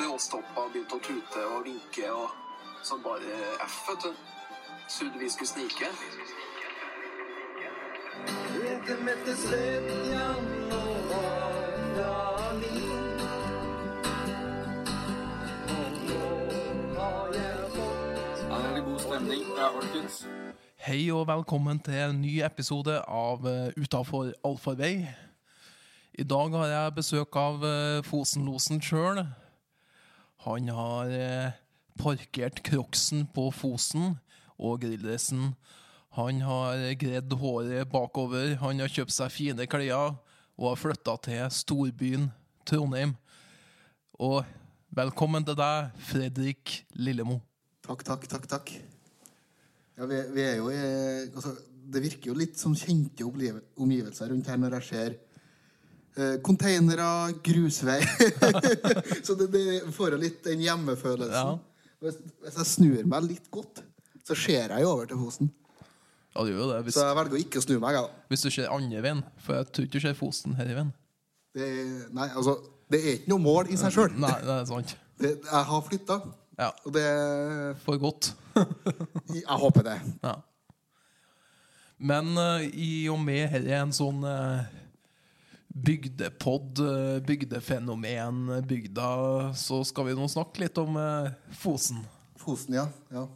Råstoppa begynte å tute og vinke og så bare F, vet du. Trodde vi skulle snike. Ja, det er god stemning. Ja, folkens. Hei og velkommen til en ny episode av eh, Utafor allfarvei. I dag har jeg besøk av eh, Fosenlosen sjøl. Han har eh, parkert Crocsen på Fosen og grilldressen. Han har gredd håret bakover, han har kjøpt seg fine klær og har flytta til storbyen Trondheim. Og velkommen til deg, Fredrik Lillemo. Takk, takk, takk, takk. Ja, vi, vi er jo i, altså, Det virker jo litt som kjente omgive- omgivelser rundt her når jeg ser eh, containere, grusvei Så det, det får jo litt den hjemmefølelsen. Ja. Hvis, hvis jeg snur meg litt godt, så ser jeg jo over til Fosen. Ja, det gjør jo det. Hvis Så jeg velger å ikke snu meg. Ja. Hvis du ser andre veien, for jeg tror ikke du ser Fosen her i veien. Det, nei, altså, det er ikke noe mål i seg sjøl. Nei, det er sant. Jeg har flytta, Ja, og det for godt. Jeg håper det. Ja. Men eh, i og med her er en sånn eh, bygdepod, eh, bygdefenomen, eh, bygda, så skal vi nå snakke litt om eh, Fosen. Fosen, ja. ja.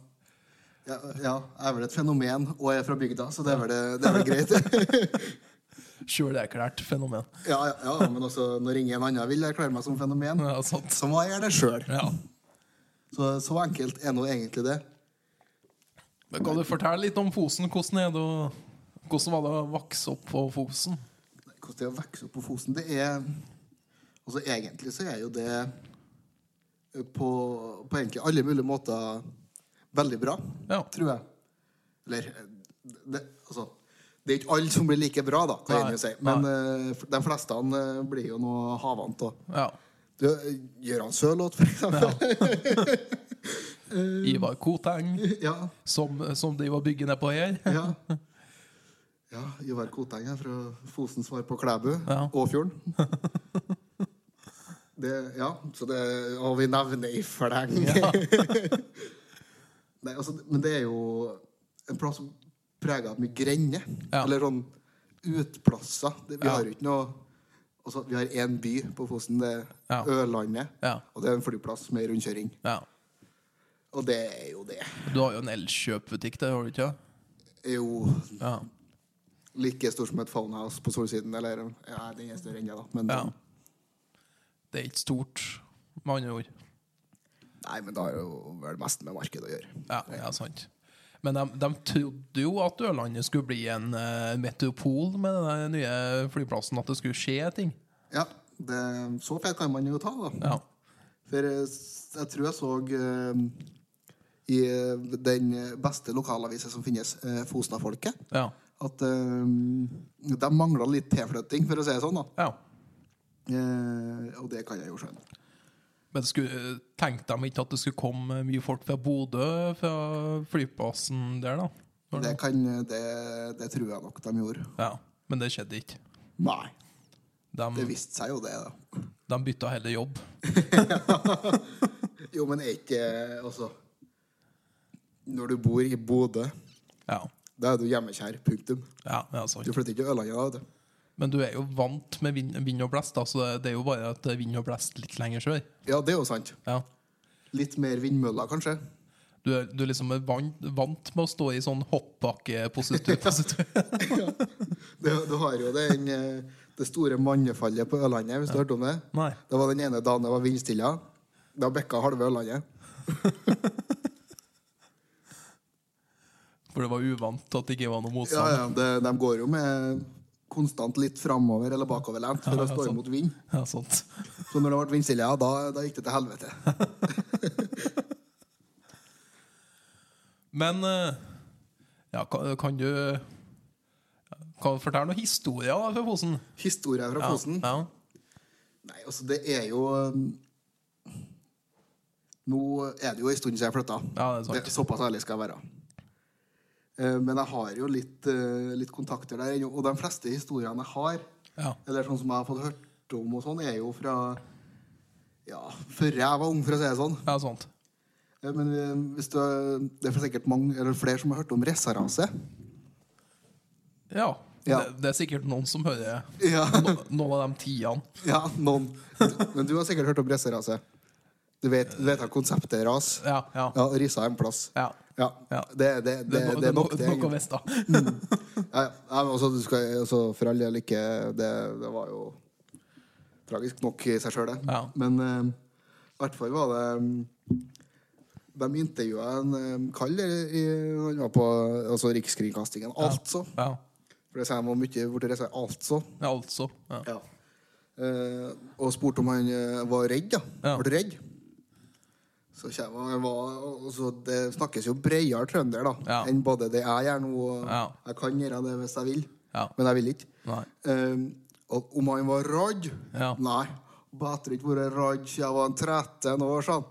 Ja, ja, jeg er vel et fenomen og jeg er fra bygda, så det er vel, det er vel greit. Sjølerklært fenomen. ja, ja, ja, Men også når ingen andre vil erklære meg som fenomen, Ja, sant. så må jeg gjøre det sjøl. Ja. Så, så enkelt er nå egentlig det. Men kan du fortelle litt om Fosen? Hvordan, er det å, hvordan var det å vokse opp på Fosen? Hvordan det er å vokse opp på Fosen, det er Altså egentlig så er jo det på, på egentlig alle mulige måter veldig bra, Ja. tror jeg. Eller eh, det, altså, det er ikke alle som blir like bra, da, kan Nei, jeg jo si. Men eh, de fleste eh, blir jo noe havant. Og. ja. Du, Gøran Sørloth, for eksempel. Ivar Koteng, Ja. som, som de var byggende på her. ja. Ja, Ivar Koteng her fra Fosen svar på Klæbu. Ja. Åfjorden. Det, ja, så det Og vi nevner i fleng. Nei, altså, men det er jo en plass som preger av mye grender. Ja. Eller sånn utplasser. Det, vi Ja. har jo ikke noe Altså, vi har én by på Fosen, det er Ja. Ørlandet. Ja. Og det er en flyplass med rundkjøring. Ja. Og det er jo det. Du har jo en elkjøpbutikk der, har du ikke? er jo Ja. like stor som et Funhouse på solsiden. Eller ja, den er større enn det, da. Men, ja. Det er ikke stort, med andre ord. Nei, men det har jo vel mest med markedet å gjøre. Ja, det er sant. Men de, de trodde jo at Ørlandet skulle bli en eh, metropol med den nye flyplassen, at det skulle skje ting. Ja, det, Så fet kan man jo ta, da. Ja. For eh, s- jeg tror jeg så eh, i eh, den beste lokalavisa som finnes, eh, Fosna-folket, Ja. at eh, de mangla litt tilflytting, for å si det sånn. da. ja. Eh, og det kan jeg jo skjønne. Men skulle, tenkte de ikke at det skulle komme mye folk fra Bodø, fra flyplassen der, da? Det, kan, det, det tror jeg nok de gjorde. Ja. Men det skjedde ikke. Nei. Det De, viste seg jo det, da. de bytta heller jobb. Jo, men er ikke Altså Når du bor i Bodø, Ja. da er du hjemmekjær. Punktum. Ja, det er sant. Du flytter ikke til Ørlandet da. vet du. Men du er jo vant med vind, vind og blest, da, så det- det er jo bare at det er vind og blest litt lenger sør. Ja, det er jo sant. Ja. Litt mer vindmøller, kanskje. Du, er, du liksom er vant, vant med å stå i sånn hoppbakkepositur. Du, du har jo den, eh, det store mannefallet på Ørlandet, hvis du har hørt om det. Nei. Det var den ene dagen det var vindstille. Da bekka halve Ørlandet. For det var uvant at det ikke var noe Ja, motstand. ja, det, De går jo med konstant litt framover eller bakoverlent for Ja, å stå sant. imot vind. Ja, sant. Så når det ble vindstille, ja, da, da gikk det til helvete. Men eh, ja, kan, kan du kan du fortelle noen historier da, fra Fosen? Historie fra Ja, Fosen. Ja. Nei, altså, det er jo um, Nå er det jo en stund siden jeg flytta. Ja, det er sant. såpass ærlig skal jeg være. Eh, Men jeg har jo litt, eh, litt kontakter der ennå. Og de fleste historiene jeg har, Ja. eller sånn som jeg har fått hørt hørt om og sånn, er jo fra ja, før jeg var ung, for å si det sånn. Ja, sånt. Eh, Men eh, hvis du, er- det er sikkert mange, eller flere som har hørt om ressaraset. Ja. Ja. Det, det er sikkert noen som hører Ja. no, noen av de tiene. ja, noen. Men du har sikkert hørt om ressaraset. Du vet, du vet at konseptet er ras. Ja, ja. Ja, rissa er en plass. Ja. Ja. Ja. Det, det, det, no- det er nok no- det. noe å vite. Mm. Ja, ja. Nei, men altså, du skal, altså, for all del ikke det, det var jo tragisk nok i seg sjøl, det. Ja. Men eh, i hvert fall var det mm, De intervjua en um, kall i, i- han var på altså, Rikskringkastingen. Altså. Ja. For det sier man mye borti det, så er altså. ja, altså. Ja. Eh, og spurte om han eh, var redd, da. Ja. Var du redd? Så kommer han var, og så Det snakkes jo bredere trønder da Ja. enn både det jeg gjør nå, og Ja. jeg kan gjøre det hvis jeg vil. Ja. Men jeg vil ikke. Nei. Ehm, og om han var redd? Ja. Nei. Bedre ikke vært redd siden jeg var en 13 år, sa han.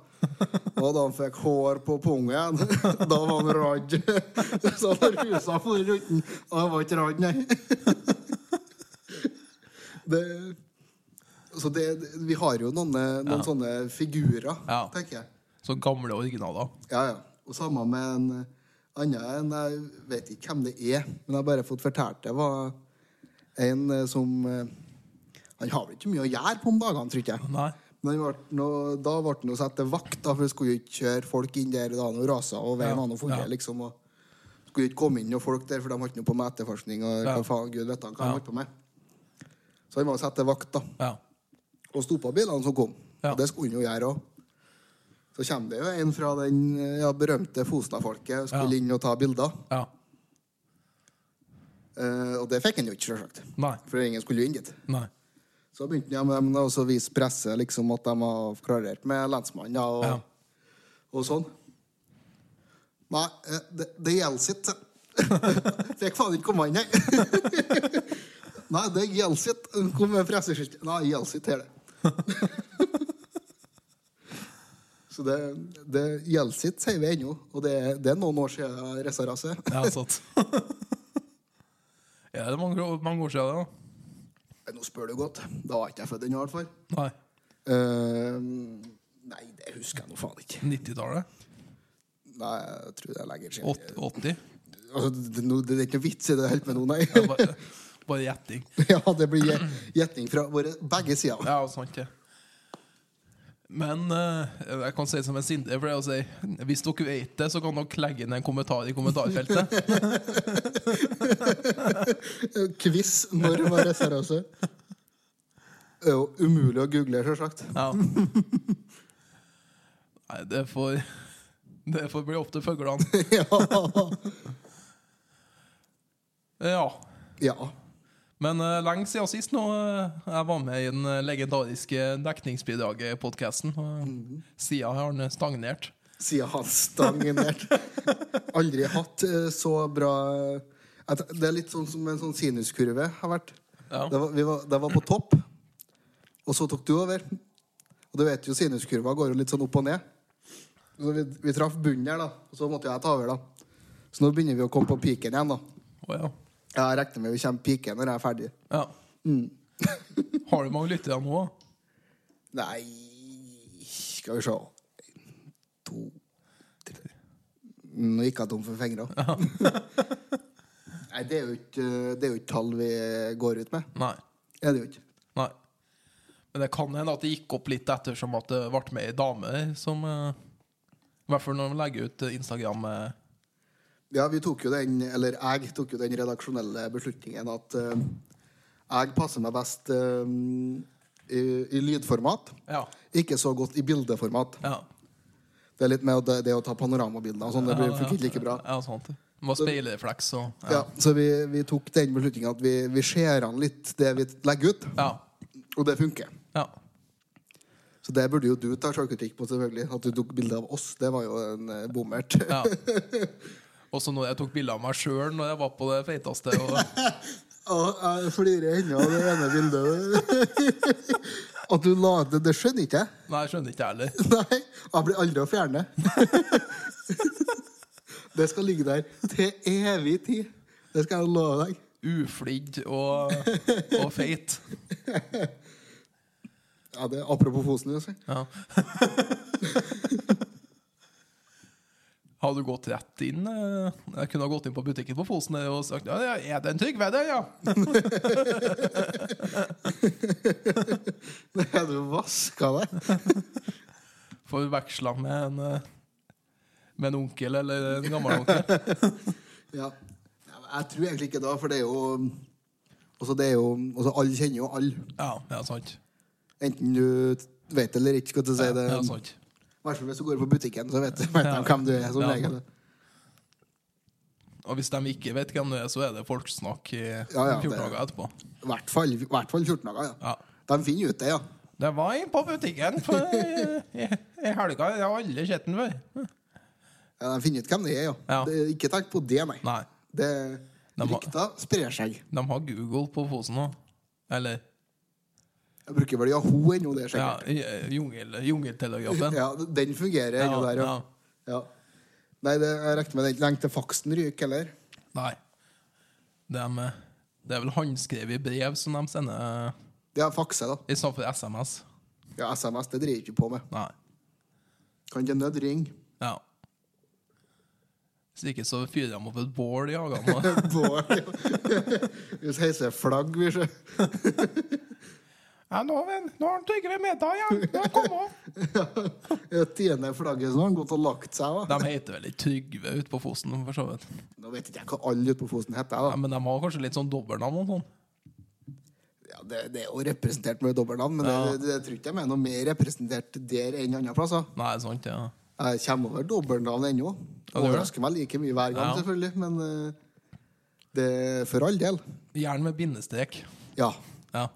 Og da han fikk hår på pungen, da var han redd. Så han rusa for rundt den, og han var ikke redd, nei. Det, så det, vi har jo noen, eh, noen sånne figurer, Ja. tenker jeg. Så gamle originaler. Ja, ja. Og samme med en annen en Jeg vet ikke hvem det er, men jeg har bare fått fortalt det var en eh, som eh, Han har vel ikke mye å gjøre på om dagene, tror ikke jeg. Nei. Men han ble noe, da ble han jo satt til vakt, da, for det skulle jo ikke kjøre folk inn der. Da han jo rasa, og veien Ja, var noe forrige, ja. liksom. Og skulle ikke komme inn noen folk der, for de holdt nå på med etterforskning. Og Ja. hva faen, gud vet han hva Ja. han holdt på med. Så han var satt til vakt, da Ja. og stoppa bilene som kom. Ja. Og det skulle han jo gjøre òg. Så kommer det jo en fra den eh, ja, berømte Fosna-folket skulle Ja. inn og ta bilder. ja. Eh, og det fikk han jo ikke, selvsagt. Nei. For ingen skulle jo inn dit. Nei. Så begynte han med dem da, og så vise presse liksom, at de har klarert med lensmannen da, og, Ja. og sånn. Nei, eh, det, det gjelder sitt. Fikk faen ikke komme inn, nei. nei, det gjelder sitt. Kom med presseskilt. Nei, gjelder sitt her, det. så det, det gjelder sitt, sier vi ennå. Og det, det er noen år siden Ressaraset. Ja, sant. Ja, det er mange, mange år siden, det, Nå spør du godt. Da var ikke jeg født ennå, i hvert fall. da. Nei. Eh, nei, det husker jeg nå faen ikke. 90-tallet? Nei, jeg tror det er lenger siden. Åt- 80? Altså, det, nå- det er ikke noe vits i det helt med noe, Ja, nei. bare, bare gjetting. Ja, det blir gje- gjetning fra våre begge sider. Ja, sant det. Men eh, jeg kan si som en sinte for det å si, Hvis dere vet det, så kan dere legge inn en kommentar i kommentarfeltet. Quiz når var det seriøse? Det er jo umulig å google, selvsagt. Ja. Nei, det får Det får bli opp til fuglene. Ja. Ja. ja. Men eh, lenge siden sist nå eh, jeg var med i den eh, legendariske dekningsbidraget-podkasten. Mhm. Sida har den stagnert. Sier han stagnert. Aldri hatt eh, så bra eh, at Det er litt sånn som en sånn sinuskurve har vært. Ja. Det, var, vi var, det var på topp, og så tok du over. Og du vet jo, sinuskurva går jo litt sånn opp og ned. Så vi, vi traff bunnen her, da. Og så måtte jeg ta over, da. Så nå begynner vi å komme på piken igjen, da. Å ja. Jeg regner med vi kommer piken når jeg er ferdig. ja. Mm. Har du mange lyttere nå? Nei Skal vi se To tre. Nå gikk jeg tom for fingre. Nei, det er, jo ikke, det er jo ikke tall vi går ut med. Nei. Det er det jo ikke. Nei. Men det kan hende at det gikk opp litt ettersom at det ble med ei dame der som eh, I hvert fall når de legger ut eh, Instagram eh, Ja, vi tok jo den, eller jeg tok jo den redaksjonelle beslutningen at eh, jeg passer meg best eh, i, i lydformat. Ja. Ikke så godt i bildeformat. Ja. Det er litt med det, det å ta panoramabilder og sånn. Det blir funker ikke like bra. ja sant. Det var speilrefleks og Ja, ja. så vi, vi tok den beslutninga at vi, vi ser an litt det vi legger ut. Ja. Og det funker. ja. Så det burde jo du ta sjølkritikk på, selvfølgelig. At du tok bilde av oss, det var jo en eh, bommert. ja. Og så når jeg tok bilde av meg sjøl når jeg var på det feiteste og, Og jeg flirer ennå av det ene bildet. At du la det, det skjønner ikke jeg. Nei, jeg skjønner ikke jeg heller. Nei, jeg blir aldri å fjerne. Det skal ligge der til evig tid. Det skal jeg love deg. Uflidd og, og feit. Ja, det er Apropos Fosen. Altså. Ja. Har du gått rett inn? eh? Jeg kunne ha gått inn på butikken på Fosen og sagt ja, ja, er det en Trygve der, ja? Nei, du vaska deg. Forveksla med en eh, med en onkel eller en gammel onkel. Ja. Ja, men Jeg tror egentlig ikke da, for det er jo Altså, det er jo altså, Alle kjenner jo alle. Ja, det er sant. Enten du vet det eller ikke, skal du si det. Det er sant. I hvert fall hvis du går på butikken, så vet, vet Ja. de hvem du er som Ja. regel. Og hvis de ikke vet hvem du er, så er det folksnakk i ja, 14 det- dager etterpå. I hvert fall, i hvert fall 14 dager. Ja. Ja. De finner ut det, ja. Det var inn på butikken for eh, i, i helga. Jeg har aldri sett den før. ja de finner ut hvem det er, ja. Ja. Det, ikke tenk på det, nei. Nei. Det, De har- rykta sprer seg. De har Google på Fosen nå. Eller Jeg bruker vel Yahoo ennå, det er ja, sikkert. i- jungel, jungeltelegrafen. Ja, den fungerer Ja, ennå der, ja. ja. ja. Nei, det, jeg regner med det er ikke lenge til faksen ryker heller. Nei. Dem, eh, det er vel håndskrevet brev som de sender eh, Det er fakse, da. i stedet for SMS. Ja, SMS det driver jeg ikke på med. Nei. Kan ikke nød ring. Ja. Hvis ikke så fyrer de opp et bål i hagen. og- Bål, ja. Hvis heiser flagg, vi ser. Ja, nå, venn, nå har han Trygve middag, ja. ja! Kom opp! Det tiende flagget som har gått og lagt seg. Da. De heter vel ikke Trygve ute på Fosen, for så vidt. Nå vet ikke jeg hva alle ute på Fosen heter. Ja, Da. men de har kanskje litt sånn dobbeltnavn og sånn. Ja, det, det er jo representert med dobbeltnavn, men det, det, det tror ikke jeg er noe mer representert der enn andre plasser. Nei, sant, ja. Jeg kommer over dobbeltnavn Ja, ennå. du gjør det? Overrasker meg like mye hver gang, Ja. selvfølgelig. Men eh, det er for all del. Gjerne med bindestrek. Ja. Ja.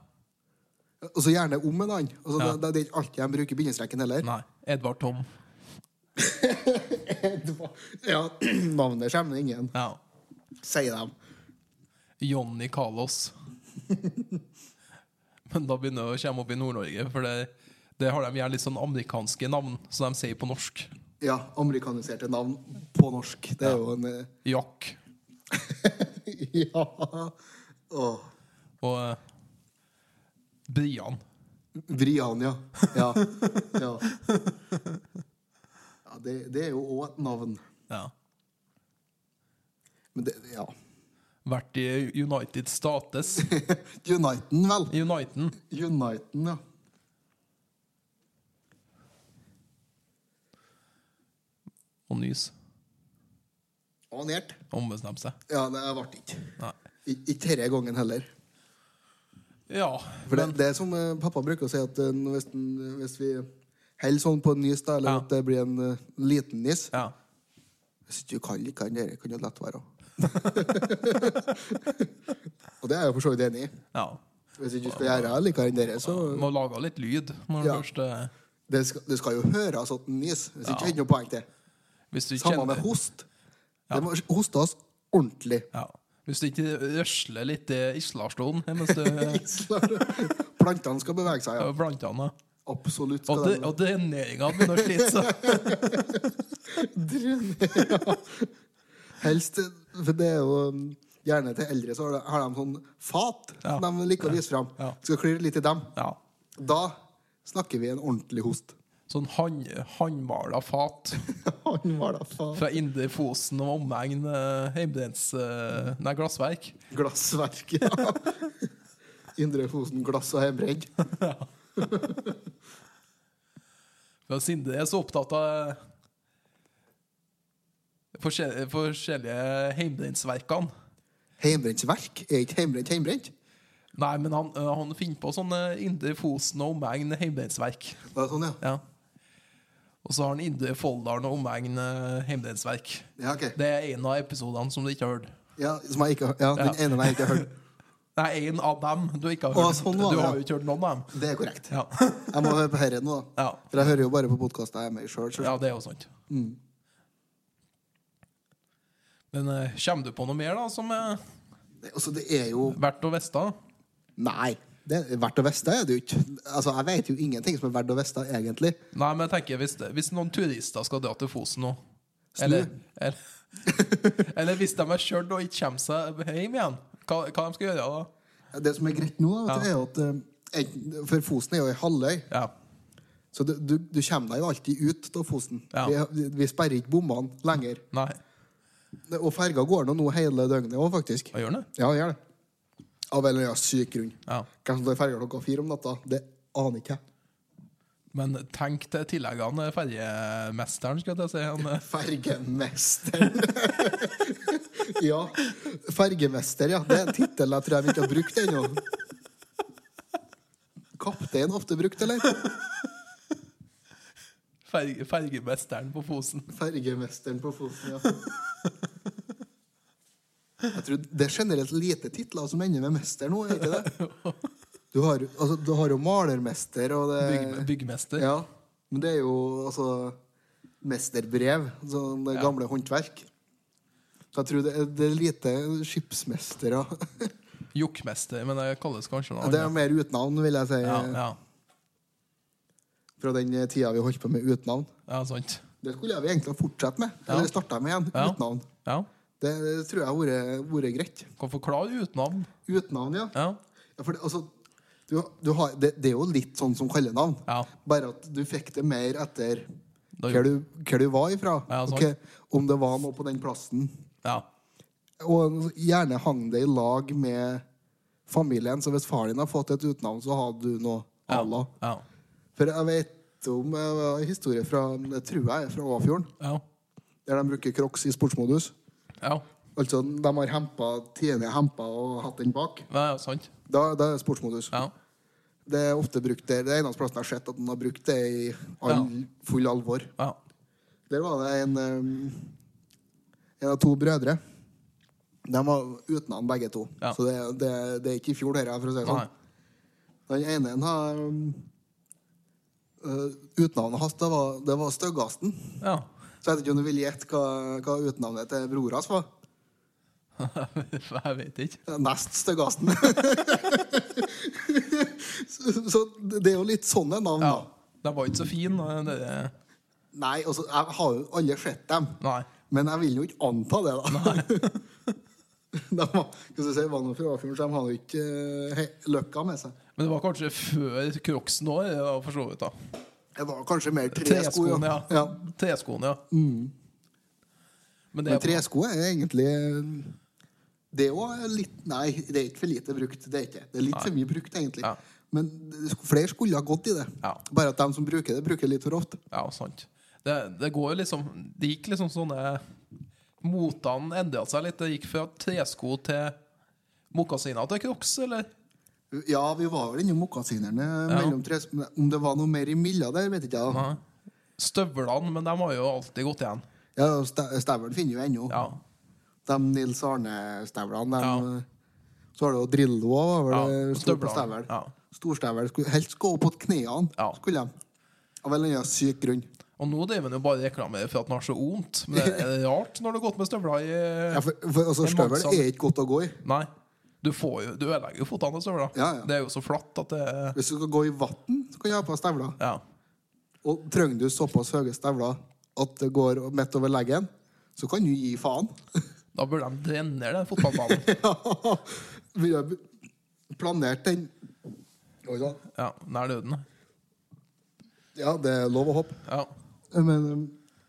Og så gjerne om en annen. Altså, Ja. det, det er ikke alltid de bruker bindestreken heller. Nei. Edvard Tom. Det var- ja, Navnet kommer ingen, Ja. sier de. Johnny Carlos. Men da begynner det å komme opp i Nord-Norge, for det, det har de gjerne litt sånn amerikanske navn, så de sier på norsk. Ja, amerikaniserte navn på norsk. Det er jo en eh, Jack. Ja. Åh. Og eh, Brian. Brian, ja. Ja. ja. ja det, det er jo òg et navn. Ja. Men det, ja. Vært i United States. Uniten, vel. Uniten. Uniten, ja. Og nys. Anert. Ombestemt seg. Ja, det ble ikke. Nei. Ik- Ikke denne gangen heller. Ja. For det, det er som eh, pappa bruker å si, at eh, hvis, den- hvis vi holder sånn på en nis, da, eller Ja. at det blir en eh, liten nis ja. Hvis du kan like den der, kan du lett være. Og det er jeg for så vidt enig i. ja. Hvis ikke du skal gjøre det like den der, så Må lage litt lyd når du Ja. først eh, det skal, det skal jo høres at den nis. Hvis ikke er det ikke noe poeng til. Hvis du Samme med kjenner host. Det må hostes ordentlig. ja. Hvis du ikke røsler litt i Islarstolen mens du eh, Plantene skal bevege seg, ja. blant annet. Absolutt. Og, skal det, de- og dreneringa begynner å slite seg. Helst, for det er jo um, gjerne til eldre så har de, har de sånn fat Ja. som de liker å vise fram. Ja. Skal klirre litt i dem. Ja. Da snakker vi en ordentlig host. Sånn hand, håndmala fat Han var da faen fra Indre Fosen og omegn. eh, Heimbrents eh, Nei, glassverk. Glassverk, ja. Indre Fosen glass og hjemmebredd. For Sindre er så opptatt av eh, forskjellige, forskjellige heimbrentsverkene. Heimbrentsverk? Er ikke heimbrent heimbrent? Nei, men han, eh, han finner på sånne Indre Fosen og omegn heimbrentsverk. Det er sånn, ja. Ja. Og så har han Indre Folldalen og omegn eh, heimbrentsverk. Ja, ok. Det er en av episodene som du ikke har hørt. Ja, som jeg ikke, har- ja, den Ja. ene jeg ikke har hørt. Nei, en av dem du ikke har Å, hørt. sånn var du det, har ja. jo ikke hørt noen av dem. Det er korrekt. Ja, Jeg må høre på herre nå, da. Ja. For jeg hører jo bare på podkaster jeg er med i sjøl. ja det er jo sant. Mm. Men eh, kommer du på noe mer da som er Altså, det er jo verdt å vite? Nei. Det er verdt å vite er det jo ikke. Altså, jeg vet jo ingenting som er verdt å vite, egentlig. Nei, men jeg tenker hvis, hvis noen turister skal dra til Fosen nå Snu. eller, eller, eller hvis de er kjørt og ikke kommer seg hjem igjen, hva, hva de skal gjøre da? Det som er greit nå, da, vet du, er jo at eh, enten- For Fosen er jo ei halvøy, Ja. så du, du, du kommer deg jo alltid ut av Fosen. Ja. Vi, vi sperrer ikke bommene lenger. Nei. Det- Og ferga går nå nå hele døgnet òg, faktisk. Hva gjør den? Ja, det gjør det. Av en eller annen syk grunn. Ja. Hvem som tar ferga klokka fire om natta, det aner ikke jeg. Men tenk til tilleggene ferjemesteren, skal jeg si. Han, eh, Fergemester. ja. Fergemester, ja. Det er en tittel jeg tror jeg vi ikke har brukt ennå. Kaptein ofte brukt, eller? ferge, fergemesteren på Fosen. Fergemesteren på Fosen, ja. Jeg tror Det er generelt lite titler som ender med mester nå, er ikke det? Du har, jo- altså, du har jo malermester og det Bygg, byggmester. Ja, men det er jo altså mesterbrev, sånn det gamle håndverk. Så jeg tror det er, det er lite skipsmestere. Jokkmester, men det kalles kanskje noe Det er annet. mer utnavn, vil jeg si, Ja, ja. fra den tida vi holdt på med utnavn. ja, sant. Det skulle vi egentlig ha fortsatt med. Ja. Eller starta med igjen. Ja. Utnavn. Ja. Det, det tror jeg har vært- vært greit. Kan forklare uten navn. Utnavn, ja. Ja. ja for det, altså, du, du har, det, det er jo litt sånn som kallenavn, Ja. bare at du fikk det mer etter Da- hva du, hva du var ifra. Ja, og sant. hva- om det var noe på den plassen. ja. Og gjerne hang det i lag med familien. Så hvis faren din har fått et utenavn, så har du noe à la. Ja. For jeg vet om eh, en historie fra det tror jeg er fra Åfjorden, Ja. der de bruker crocs i sportsmodus. Ja. Altså, de har hempa, tjene hempa og hatt den bak. ja, ja sant. Da, da er det sportsmodus. Ja. Det er ofte brukt der. Det er eneste plassen jeg har sett at den har brukt det i all, full alvor. Ja. Der var det en eh, En av to brødre. De var utenat, begge to. Ja. Så det, det, det er ikke i fjor, dette, for å si det Nei. sånn. Den ene en har um, øh, Utenavnet hans, det var, det var Støggasten. Ja. Så jeg vet ikke om du vil gjette hva, hva utenavnet til bror hans var. Jeg vet ikke. Nest Støggasten. så, så det er jo litt sånne navn, Ja. da. De var ikke så fine. Det, det- Nei, altså, jeg har jo alle sett dem. nei. Men jeg vil jo ikke anta det, da. de var, hva skal jeg si, var noe fra Åfjorden, så de hadde jo ikke eh, he- løkka med seg. Men det var kanskje før Crocsen òg, for så vidt. da. Det var kanskje mer tresko. Treskoen, ja. ja. Mm. Treskoen, ja. Men det Men er tresko er egentlig eh, Det er jo litt Nei, det er ikke for lite brukt. Det er ikke. Det er litt for mye brukt, egentlig. Ja. Men flere skulle ha gått i det. Ja. Bare at de som bruker det, bruker litt for ofte. Ja, sant. Det, det går jo liksom Det gikk liksom sånne Motene endra seg litt. Det gikk fra tresko til mokasiner til Crocs, eller? Ja, vi var vel innom mokasinerne mellom tresko men Om det var noe mer imellom der, vet ikke jeg. da. Nei. Støvlene, men de har jo alltid gått igjen. Ja, sta- Stævelen finner jo ennå. Ja. De Nils Arne-stævlene. Ja. de- Så har du jo Drillo òg. Ja, og Storstævel. støvlene, ja. Storstævel skulle helst gå på knærne. Ja. Skulle de. Av en eller annen syk grunn. Og nå driver han jo bare og reklamerer for at han har så vondt. Men det er rart når du har gått med støvler i Ja, for, for, altså, En støvel mannsalder. er ikke godt å gå i. Nei. Du, får jo, du ødelegger jo føttene av støvler. Ja, ja. Det er jo så flatt at det er Hvis du skal gå i vann, så kan du ha på deg støvler. Ja. Og trenger du såpass høye støvler at det går midt over leggen, så kan du gi faen. Da burde de drenere den fotballbanen. Vi har planert den Oi da. Ja, nær døden. Ja, det er lov å hoppe. Ja. Men um,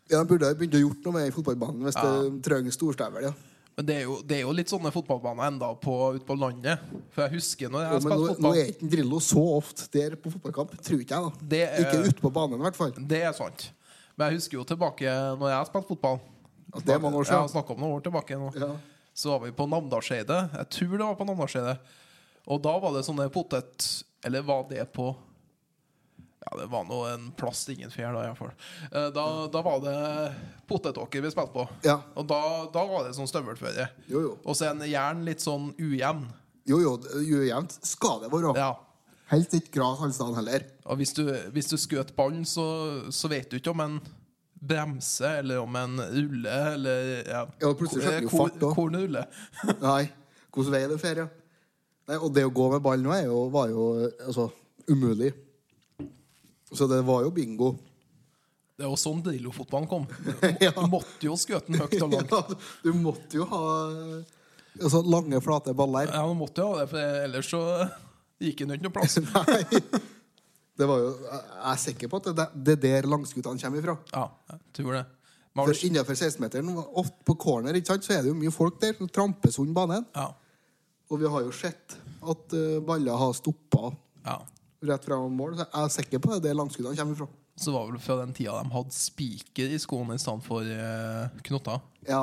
ja, jeg burde ha begynt å gjort noe med fotballbanen hvis det trenger storstævel. Ja. Men det er, jo, det er jo litt sånne fotballbaner enda på, ute på landet. For jeg husker når Jo, jeg men nå, spilte nå fotball. er ikke Drillo så ofte der på fotballkamp, tror ikke jeg. da Det er- Ikke ute på banen, i hvert fall. Det er sant. Men jeg husker jo tilbake når jeg spilte fotball. At det er mange år Jeg har siden. snakket om noen år tilbake nå. Ja. Så var vi på Namdalseidet. Jeg tror det var på Namdalseidet. Og da var det sånne potet... Eller var det på Ja, det var nå en plass til ingen fjær, da, iallfall. Eh, Da, da var det potetåker vi spilte på. Ja. Og da, da var det sånn støvelføre. Jo, jo. Og så en jern litt sånn ujevn. Jo, jo, det- ujevnt skal det være. Ja. Helst ikke gras alle steder heller. Og hvis du, hvis du skjøt ballen, så, så vet du ikke om en bremser, eller om en ruller, eller ja. eh, Ja, plutselig skjønte du jo Hvor- fart også. Hvor den ruller. Nei, hvordan vei er det ferie? Nei, og det å gå med ball nå er jo, var jo altså, umulig. Så det var jo bingo. Det er jo sånn Drillo-fotballen kom. Ja. Du måtte jo skjøte den høyt og langt. Ja, du måtte jo ha altså, lange, flate baller. Ja, du måtte jo ha det, for ellers så Det gikk jo ikke noe plass. Nei. Det var jo, jeg er sikker på at det er det der langskutene kommer ifra. Ja, jeg tror det. Men har For du, innenfor 16-meteren, ofte på corner, ikke sant, så er det jo mye folk der. som trampes under banen. ja, Og vi har jo sett at eh, baller har stoppa ja. rett fra mål. Så jeg er sikker på at det er der langskutene kommer ifra. Så var vel fra den tida de hadde spiker i skoene i stedet for eh, knotter. Ja.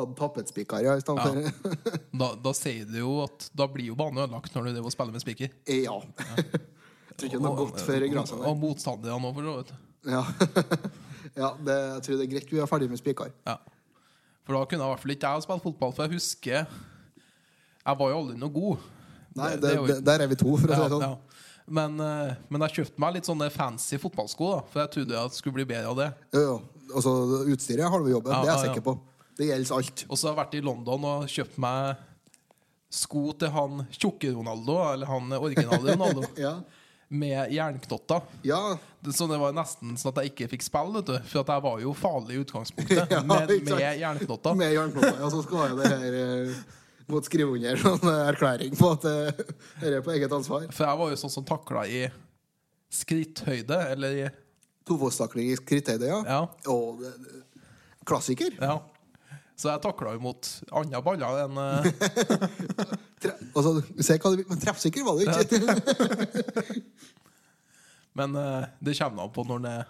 Hadde tapetspiker, ja, i stedet Ja. for Da, da sier det jo at da blir jo banen ødelagt når du driver og spiller med spiker. Eh, Ja. Jeg tror ikke den har gått før gresset Og, og motstanderne òg, for så vidt. Ja, ja det, jeg tror det er greit vi er ferdig med spiker. Ja. For da kunne jeg i hvert fall ikke jeg spille fotball, for jeg husker Jeg var jo aldri noe god. Nei, Det- det, det er jo- det- Der er vi to, for å si Ja, det sånn. ja. Men, eh, men jeg kjøpte meg litt sånne fancy fotballsko, da, for jeg trodde jeg skulle bli bedre av det. Jo, jo. Altså, utstyret har vi jobben, Ja, det er ja, jeg ja. sikker på. Det gjelder alt. Og så har jeg vært i London og kjøpt meg sko til han tjukke Ronaldo, eller han originale Ronaldo, Ja. med jernknotter. ja. Det- Så det var nesten sånn at jeg ikke fikk spille, vet du. For at jeg var jo farlig i utgangspunktet, Ja, men ikke sant. med jernknotter. Med jernknopper. Ja, så skal jeg det her eh, måtte skrive under sånn eh, erklæring på at eh, dette er på eget ansvar. For jeg var jo sånn som takla i skritthøyde, eller i Tofotstakling i skritthøyde, ja. Ja. Og det, det- klassiker. ja. Så jeg takla jo mot andre baller enn eh, Tre, altså, se hva du vil, men treffsikker var du ikke. Men eh, det kommer an på når den, er-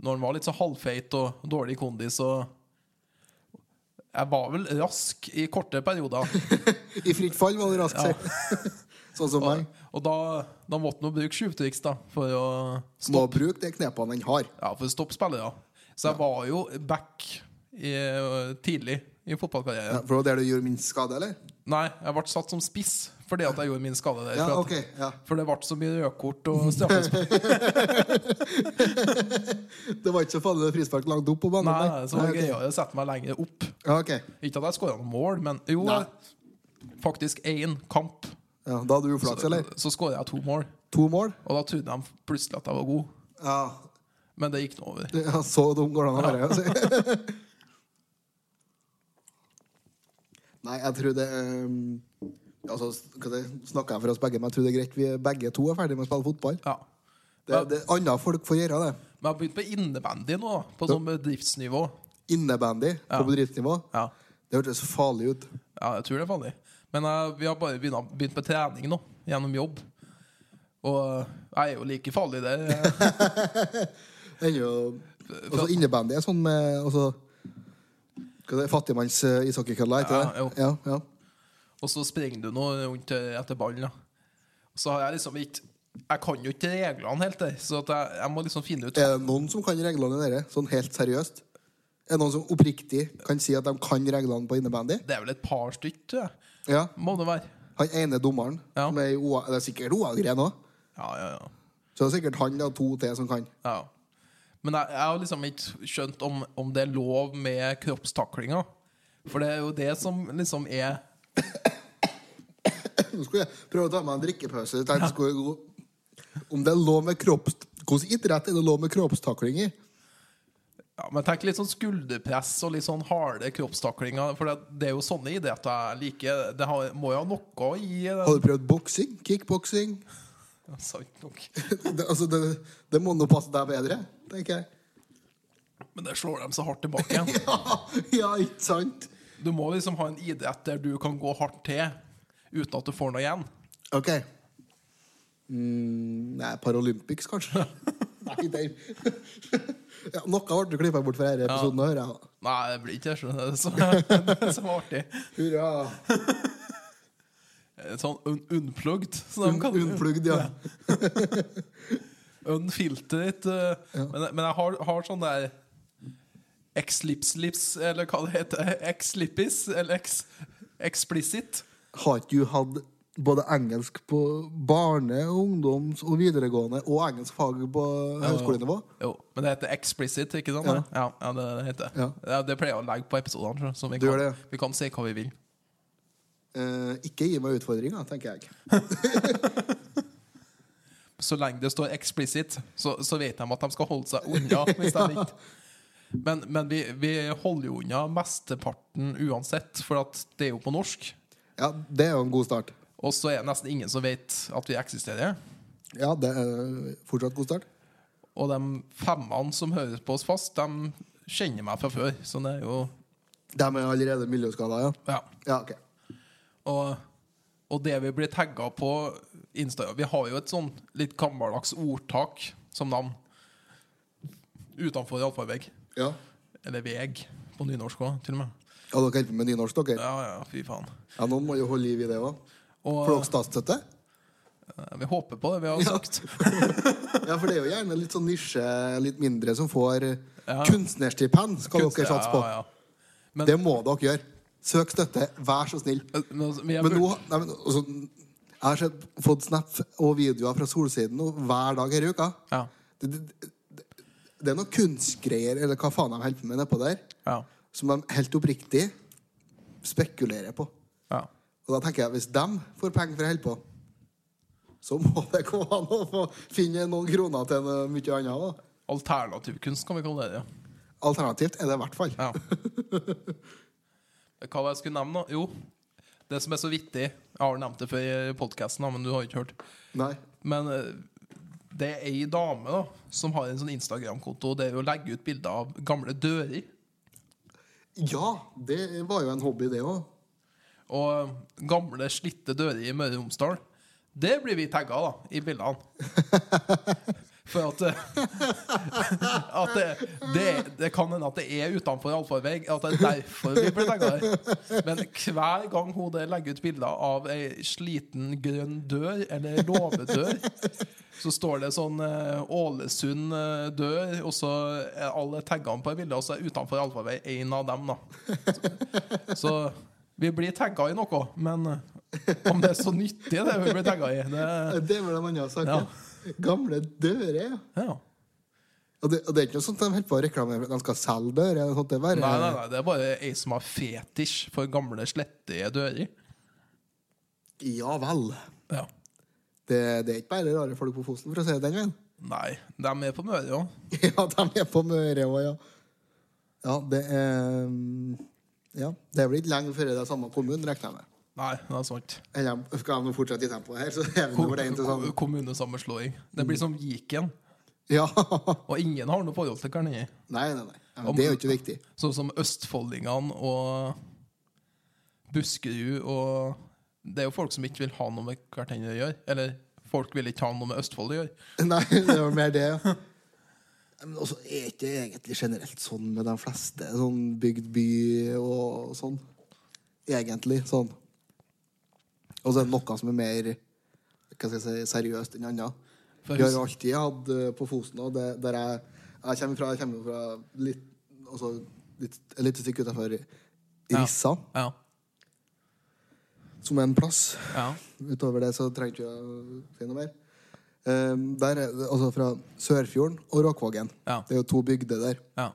når den var litt så halvfeit og dårlig i kondis. Og jeg var vel rask i korte perioder. I fritt fall var du rask, sier Sånn som meg. Og da, da måtte man bruke tjuvtriks da, for å, Må bruke de knepene han har. ja, for å stoppe spillere. Så jeg var jo back i, eh, tidlig i Ja, fotballkarrieren. for det var der du gjorde minst skade, eller? Nei, jeg ble satt som spiss fordi at jeg gjorde min skade der. Ja, for, at, ok. Ja. for det ble så mye rødkort og straffespark. Det var ikke så farlig med frispark langt opp på banen? Nei, så var det ok. greiere å sette meg lenger opp. Ja, ok. Ikke at jeg skåra noe mål, men jo, Nei. faktisk én kamp. Ja, da hadde du uflaks, eller? Så skåra jeg to mål, To mål? og da trodde de plutselig at jeg var god. Ja. Men det gikk nå over. det- ja så dum går det an å være. altså. Nei, jeg tror det ehm, Altså, hva det, snakker jeg for oss begge, men jeg tror det er greit vi begge to er ferdige med å spille fotball. Ja. Det, det Andre folk får gjøre det. Men jeg har begynt med innebandy nå, da, på sånn bedriftsnivå. Innebandy på bedriftsnivå. Ja, Det hørtes farlig ut. ja jeg tror det er farlig. Men eh, vi har bare begynt, begynt med trening nå, gjennom jobb. Og eh, jeg er jo like farlig der. eh. Ennå Altså, innebandy er sånn med altså, hva det er, Fattigmanns uh, ishockeykølla, heter Ja, jo. det? Ja, ja. Og så springer du nå rundt eh, etter ballen. Da. Og så har jeg liksom ikke Jeg kan jo ikke reglene helt der, så at jeg, jeg må liksom finne ut Er det noen som kan reglene i dere? Sånn helt seriøst? Er det noen som oppriktig kan si at de kan reglene på innebandy? Det er vel et par stykk, tror jeg. Ja. Må det være. Han ene dommeren Ja. som er i OA, Det er sikkert OA-gren òg. Ja, ja, ja. Så det er sikkert han og to til som kan. ja. Men jeg, jeg har liksom ikke skjønt om, om det er lov med kroppstaklinga. For det er jo det som liksom er Nå skulle jeg prøve å ta meg en drikkepause. Jeg tenkte jeg skulle gå. Om det er lov med kropps... Hvilken idrett er det lov med kroppstakling i? ja, Men tenk litt sånn skulderpress og litt sånn harde kroppstaklinger. For det, det er jo sånne idretter jeg liker. Det har, må jo ha noe å gi. Har du prøvd boksing? Kickboksing? Ja, Sant nok. det, altså, det, det må nå passe deg bedre, tenker jeg. Men det slår dem så hardt tilbake igjen. Ja, ja ikke sant? Du må liksom ha en idrett der du kan gå hardt til uten at du får noe igjen. OK. Mm, nei, Paralympics, kanskje? nei, der ja, Noe ble klippa bort fra denne episoden, hører jeg. Nei, det blir ikke det, skjønner du. Så- det som var artig. Hurra. Sånn un unplugged, som de kaller det. Unnplugd, ja. Unfiltret. eh, Men, men jeg har, har sånn der X-lips-lips, eller hva det heter. X-lippis, eller X explicit. Har ikke du hatt både engelsk på barne-, ungdoms- og videregående og engelsk fag på høyskolenivå? Jo, men det heter explicit, ikke sant? det? Ja, ja det, er det det heter. Ja. Ja, det pleier jeg å legge på episodene, tror jeg, så vi Du gjør kan, det, ja. vi kan si hva vi vil. Eh, ikke gi meg utfordringer, tenker jeg. Så lenge det står explicit, så, så vet de at de skal holde seg unna. hvis de ikke. Men, men vi, vi holder jo unna mesteparten uansett, for at det er jo på norsk. Ja, Det er jo en god start. Og så er det nesten ingen som vet at vi eksisterer. Ja, det er fortsatt god start. Og de femmene som hører på oss fast, de kjenner meg fra før. Så det er jo De er allerede miljøskada, ja? Ja. Ja, ok. Og, og det vi blir tagga på Insta Vi har jo et sånn litt gammeldags ordtak som navn. Utenfor allfarvei. Ja, Eller veg, på nynorsk òg, til og med. ja dere hjelper med nynorsk, dere? Ja, ja, fy faen. Ja, Noen må jo holde liv i det òg. Og Får dere statsstøtte? eh, vi håper på det vi har sagt. Ja, for det er jo gjerne litt sånn nisje, litt mindre, som får Ja. kunstnerstipend. Skal dere satse på. Ja, ja. Men, Det må dere gjøre. Søk støtte, vær så snill. men, altså, vi er Men nå bur- nei, men, altså, Jeg har sett, fått snap og videoer fra Solsiden nå, hver dag her i uka. Ja. Det, det, det, det er noen kunstgreier, eller hva faen de holder på med nedpå der, ja, som de helt oppriktig spekulerer på. ja. Og da tenker jeg, hvis de får penger for å holde på, så må det gå an å få finne noen kroner til noe mye annet. Da. Alternativkunst kan vi kalle det. ja. Alternativt er det i hvert fall. Ja. Hva var det jeg skulle nevne, da? Jo, det som er så vittig Jeg har nevnt det før i podkasten, men du har ikke hørt. Nei. Men eh, det er ei dame da som har en sånn Instagram-konto der hun legger ut bilder av gamle dører. Ja, det var jo en hobby, det òg. Og gamle, slitte dører i Møre og Romsdal. Det blir vi tagga da, i bildene. For at, eh, at det, det, det kan hende at det er utenfor allfarvei. At det er derfor vi blir tagga her. Men hver gang hun der legger ut bilder av ei sliten grønn dør, eller låvedør, så står det sånn eh, Ålesund eh, dør, og så er alle taggene på bildet, og så er utenfor allfarvei én av dem, da. Så vi blir tagga i noe, men eh, om det er så nyttig, det vi blir tagga i det, Det var den andre saken. Gamle dører, ja. ja. Og det, og det er ikke noe sånt de holder på å reklamere for at de skal selge dører. eller noe sånt, Det er bare Nei, nei, nei, det er bare ei som har fetisj for gamle, slettige dører. Ja vel. Ja. Det, det er ikke bare rare folk på Fosen, for å si det den veien. Nei, de er med på Møre òg. Ja, de er på Møre òg, ja. Ja, det er mm, Ja, det blir ikke lenge før det er samme kommune, regner jeg med. Nei, det er sant. Eller skal de nå fortsette i tempoet her, så hever de Ko- over det inn til sånn Mm. ko- Kommunesammenslåing. Det blir som Viken, Ja. og ingen har noe forhold til hverandre. Nei, nei, nei. Ja, men det er jo ikke viktig. Sånn som østfoldingene og Buskerud og Det er jo folk som ikke vil ha noe med hverandre å gjøre. Eller folk vil ikke ha noe med Østfold å gjøre. Nei, det var mer det, ja. Men også er ikke det egentlig generelt sånn med de fleste. Sånn bygd by og sånn. Egentlig sånn. Og så er det noe som er mer hva skal jeg si, seriøst enn annet. For Vi har jo alltid hatt eh, på Fosen og det, der jeg, jeg kommer fra, jeg kommer jo fra litt, altså, litt, et lite stykke utenfor Rissa, Ja. som er en plass. ja. Utover det så trenger ikke jeg å si noe mer. Ehm, der er det, altså Fra Sørfjorden og Råkvågen. Ja. Det er jo to bygder der. Ja.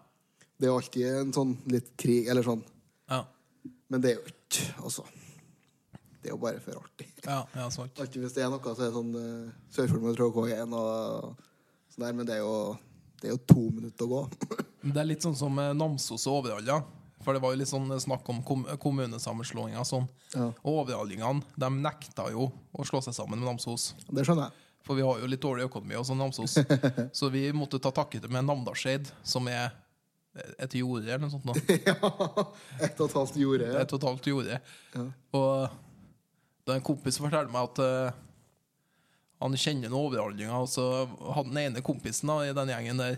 Det er jo alltid en sånn litt krig, eller sånn. Ja. Men det er jo ikke Altså. Det er jo bare for artig. Ja, ja sant. Alltid hvis det er noe, så er det sånn eh, Sørfjorden mot Råkvågen og sånn der, men det er jo det er jo to minutter å gå. Men Det er litt sånn som eh, Namsos og Overhalla. For det var jo litt sånn eh, snakk om kom kommunesammenslåinger og sånn. Ja. Og overhallingene de nekta jo å slå seg sammen med Namsos. Det skjønner jeg. For vi har jo litt dårlig økonomi også, Namsos. Så vi måtte ta takke til med Namdalseid, som er eh, et jorde eller noe sånt. Nå. Ja, Ett og et halvt jorde. Det er totalt jorde. Ja. Og da en kompis forteller meg at eh, han kjenner noen overhandlinger, og så hadde den ene kompisen da, i den gjengen der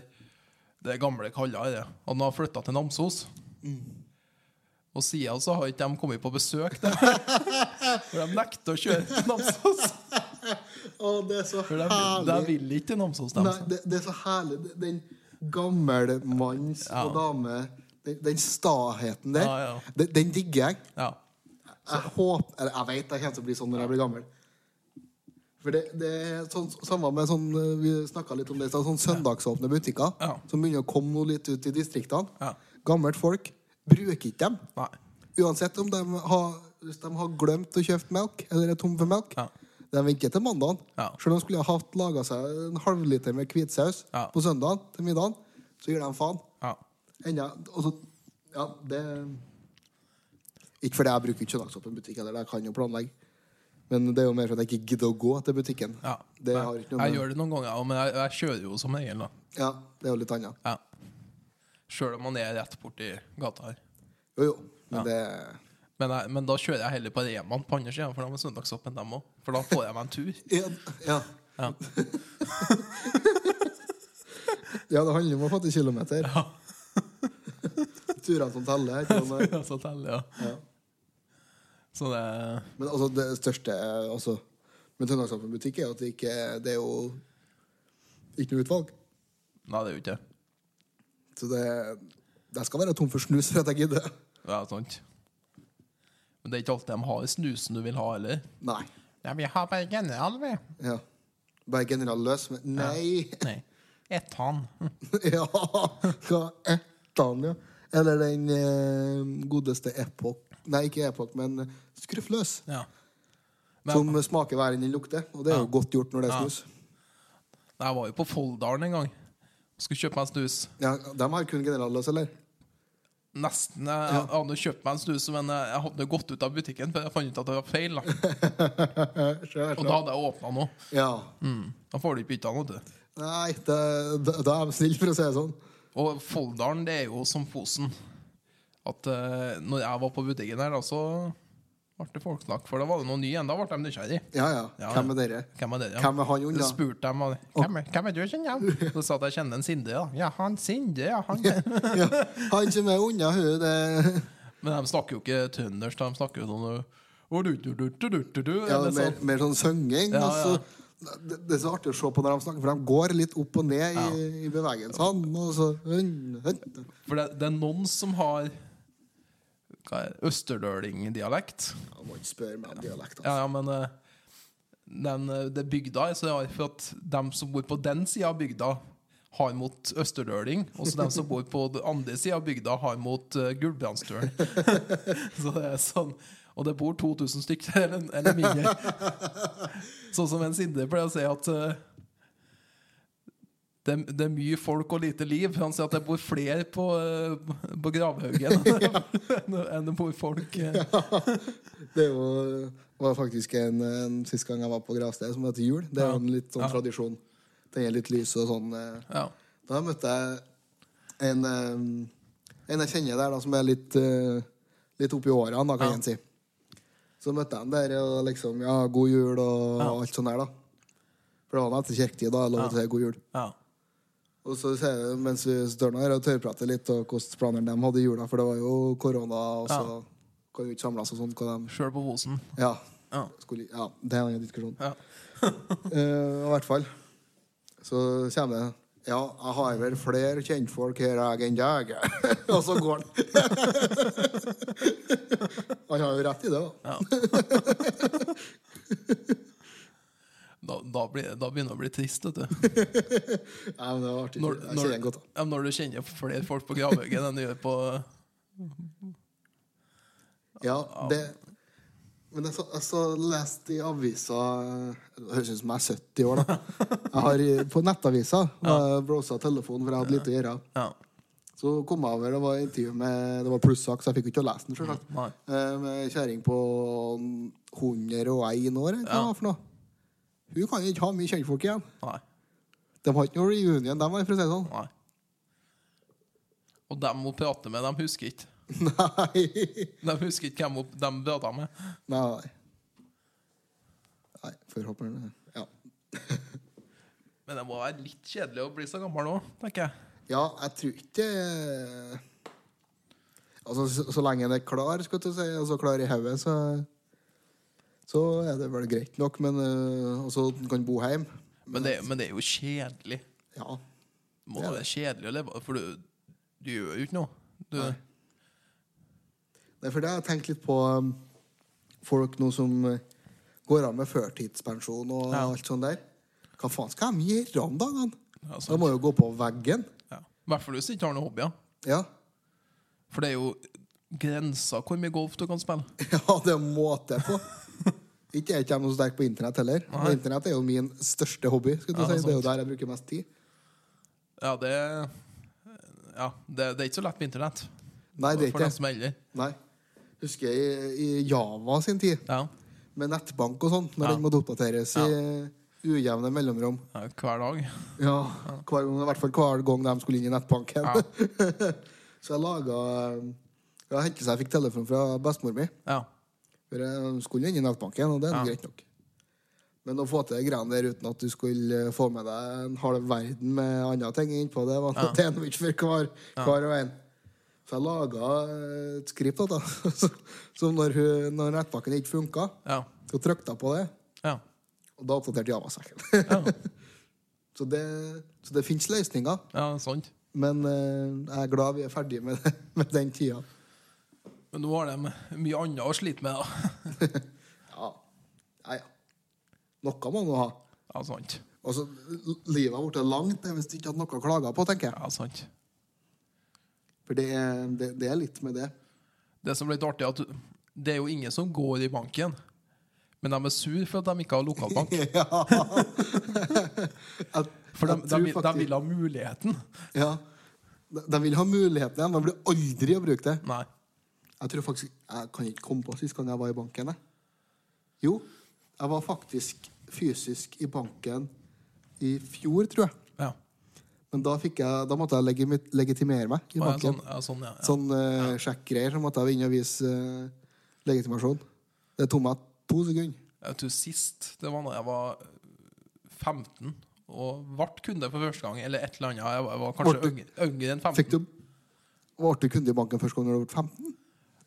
det gamle kalla her, at han har flytta til Namsos. Mm. Og siden så har ikke de kommet på besøk der. For de nekter å kjøre til Namsos. Å, det er så For de, vil- de vil ikke til Namsos, de. Nei, det, det er så herlig. Det- Den gammel manns Ja. og dame Den, den staheten der, Ja, ja. Den, den digger jeg. Ja. Jeg håper, eller jeg vet jeg kommer til å bli sånn når jeg blir gammel. For det, det er sånn, samme med sånn eh, Vi snakket litt om det i stad. Sånn søndagsåpne butikker Ja. som begynner å komme noe litt ut i distriktene. Ja. Gammelt folk bruker ikke dem. Nei. Uansett om de har, hvis de har glemt å kjøpe melk, eller er tom for melk. Ja. De venter til mandagen. Ja. Selv om de skulle ha hatt laga seg en halvliter med hvitsaus Ja. på søndagen til middagen, så gir de faen. Ja. Enda, altså, ja, det Ikke fordi jeg bruker ikke søndagsåpen butikk heller, jeg kan jo planlegge. Men det er jo mer for at jeg ikke gidder å gå til butikken. Ja. Det har ikke noe Jeg med gjør det noen ganger, ja, men jeg, jeg kjører jo som regel, da. Ja, det er jo litt annet. Ja. Sjøl om man er rett borti gata her. Jo, jo. Men Ja. det Men, jeg, men da kjører jeg heller på Reman på andre sida, for de har søndagsåpent, dem òg. For da får jeg meg en tur. Ja. Ja. Ja. det handler om å få til kilometer. Ja. Turene som teller. ikke noe annet. Så, teller, ja. Ja. så det Men altså, det største eh, altså, med Trøndelagsåpen butikk er jo at det ikke det er jo ikke noe utvalg. Nei, det er jo ikke det. Så det, det skal være tom for snus for at jeg gidder. Ja, sant. Men det er ikke alltid de har snusen du vil ha, heller. Nei. Ja, vi har bare general, vi. Ja. Bare general løs med Nei! Nei. Etan. Ja! Hva ettan, ja? Eller den eh, godeste Epoch Nei, ikke Epoch, men Skruffløs. Ja. Men- Som smaker verre enn den lukter. Og det er jo godt gjort når det er snus. Nei, Jeg var jo på Folldalen en gang. Skulle kjøpe meg en snus. Ja, De har kun general løs, eller? Nesten. Jeg jeg hadde jo kjøpt meg en snus, men jeg jeg hadde jo gått ut av butikken før jeg fant ut at det var feil. Da. Og da hadde jeg åpna nå. Ja. Da får du ikke bytta noe. vet du. Nei, det, da, da er de snille, for å si det sånn. Og Folldalen, det er jo som Fosen. At eh, når jeg var på butikken her, da, så ble det folksnakk. For da var det noe ny igjen. Da ble de nysgjerrige. Ja, ja. Ja, Hvem er dere? Hvem er det? ja? Hvem er han Så unna? spurte de og, hvem, er- hvem er du kjenner? jeg?» Så sa jeg at jeg kjenner en Sinde. Da. Ja, han Sinde, ja. Han. Ja, han som er unna hun, det Men de snakker jo ikke trøndersk, de snakker jo sånn «Å, du, du, du, du, du, du, du», ja, eller mer, sånn. mer sånn synging. Ja, og så- det, det er så artig å se på når de snakker, for de går litt opp og ned i, i bevegelsene. Og så, hun, hun. For det, det er noen som har hva er det, østerdølingdialekt. Jeg må ikke spørre meg om dialekt. Altså. Ja, ja, men eh, den, eh, det bygda er så rar for at dem som bor på den sida av bygda, har mot østerdøling. Og så dem som bor på den andre sida av bygda, har mot uh, Gulbrandsdølen. så det er sånn. Og det bor 2000 stykker der, eller, eller mindre. sånn som en Sinde pleier å si at eh, det, det er mye folk og lite liv. Han sier at det bor flere på, eh, på Gravhaugen enn det bor folk. eh. Det er jo, var faktisk en, en sist gang jeg var på gravstedet, som heter Jul. Det er jo en litt sånn tradisjon. Den er litt lys og sånn. eh, Ja. Da møtte jeg en, eh, en jeg kjenner der, da, som er litt, eh, litt oppi årene, da, kan Ja. jeg si. Så møtte jeg han der og liksom Ja, god jul og alt sånt der, da. For det var nå etter kirketid, da. Jeg lov til å si god jul. ja. Og så sier jeg, mens vi står nå her og tørrprater litt, og hvordan planer de hadde i jula, for det var jo korona, og så Ja. kan vi ikke samles og sånn. hva de- Sjøl på Fosen. Ja. Ja. Skulle, ja. Det er en annen diskusjon. Ja. Eh, I hvert fall. Så kommer det Ja, jeg har vel flere kjentfolk her jeg enn deg. Og så går han. Han har jo rett i det, da. Da, da, blir, da begynner det å bli trist, vet du. Nei, men det var artig. Når, jeg når, kjenner han godt, da. ja, når du kjenner flere folk på gravhaugen enn du gjør på Ja, det Men jeg så, jeg så leste i avisa Det høres ut som jeg er 70 år, da. Jeg har, i- på nettavisa var jeg browsa telefonen, for jeg hadde lite å gjøre. Ja. Så kom jeg over, det var intervju med Det var plussak, så jeg fikk jo ikke å lese den, sjølsagt. Nei. Eh, Med kjerring på 101 år, eller hva for noe. Hun kan ikke ha mye kjentfolk igjen. Nei. De har ikke noe reunion, dem, for å si det sånn. Nei. Og dem hun prater med, de husker ikke. sånn. Nei. De husker ikke hvem hun dem prata med. Nei. Nei, forhåpentlig. Ja. Men det må være litt kjedelig å bli så gammel nå, tenker jeg. ja, jeg tror ikke eh, Altså, så, så lenge en er klar, skal du si, og så klar i hodet, så så er det vel greit nok, men eh, også at en kan bo hjemme. Men det, men det er jo kjedelig. Ja. Det må være kjedelig å leve For du, du gjør jo ikke noe. Du, Nei, for det har jeg tenkt litt på um, folk nå som uh, går av med førtidspensjon og Ja. alt sånt der. Hva faen skal de gjøre om dagene? Ja, sant. de må jo gå på veggen. ja. I hvert fall hvis du ikke har noen hobbyer. Ja. For det er jo grensa hvor mye golf du kan spille. ja, det er måte på. Ikke er ikke jeg noe sterk på internett heller. Og Internett er jo min største hobby. Skal du Ja, det er si. Det er jo der jeg bruker mest tid. Ja, det Ja, det, det er ikke så lett på internett. Nei, det er For ikke dem det. som er eldre. Nei. Husker jeg i, i Java sin tid. Ja. med nettbank og sånn, når Ja. den måtte oppdateres i ujevne mellomrom. Ja, hver dag. Ja, hver gang, I hvert fall hver gang de skulle inn i nettbanken. Ja. så jeg laga Jeg hentet seg, jeg fikk telefon fra bestemor mi. Ja. For jeg skulle inn i nettbanken, og det er nå Ja. greit nok. Men å få til de greiene der uten at du skulle eh, få med deg en halv verden med andre ting innpå, det var noe sandwich for hver, hver og en. Så jeg laga et skript da, da. som når, hun- når nettbanken ikke funka, Ja. så trykte jeg på det, Ja. og da oppdaterte Javasaken. Ja. så det, så det fins løsninger, ja, sant. men eh, jeg er glad vi er ferdig med, det, med den tida. Men nå har de mye annet å slite med, da. Ja, ja, ja. Noe må man jo ha. Ja, sant. Altså, l- Livet har blitt langt det er hvis du ikke hadde noe å klage på, tenker jeg. Ja, sant. For det er, det, det er litt med det. Det som er litt artig, er at du- det er jo ingen som går i banken. Men de er sur for at de ikke har lokalbank. Ja. Jeg, For de, jeg de, tror vil- de faktisk- vil ha muligheten. Ja. De, de vil ha muligheten igjen. De blir aldri å bruke det. Nei. Jeg tror faktisk, jeg kan ikke komme på sist gang jeg var i banken. Jeg. Jo, jeg var faktisk fysisk i banken i fjor, tror jeg. Ja. Men da, fikk jeg, da måtte jeg legimi- legitimere meg i Ja, banken. sånn, ja, sånn, ja. ja. Sånn uh, sjekkgreier som at jeg var inne og vise eh, legitimasjon. Det tok meg to sekunder. Jeg tror sist det var da jeg var 15 og ble kunde for første gang, eller et eller annet. Jeg var, jeg var kanskje Ble du- yngre, yngre enn 15. Fikk du Ble du kunde i banken først gang når du ble 15?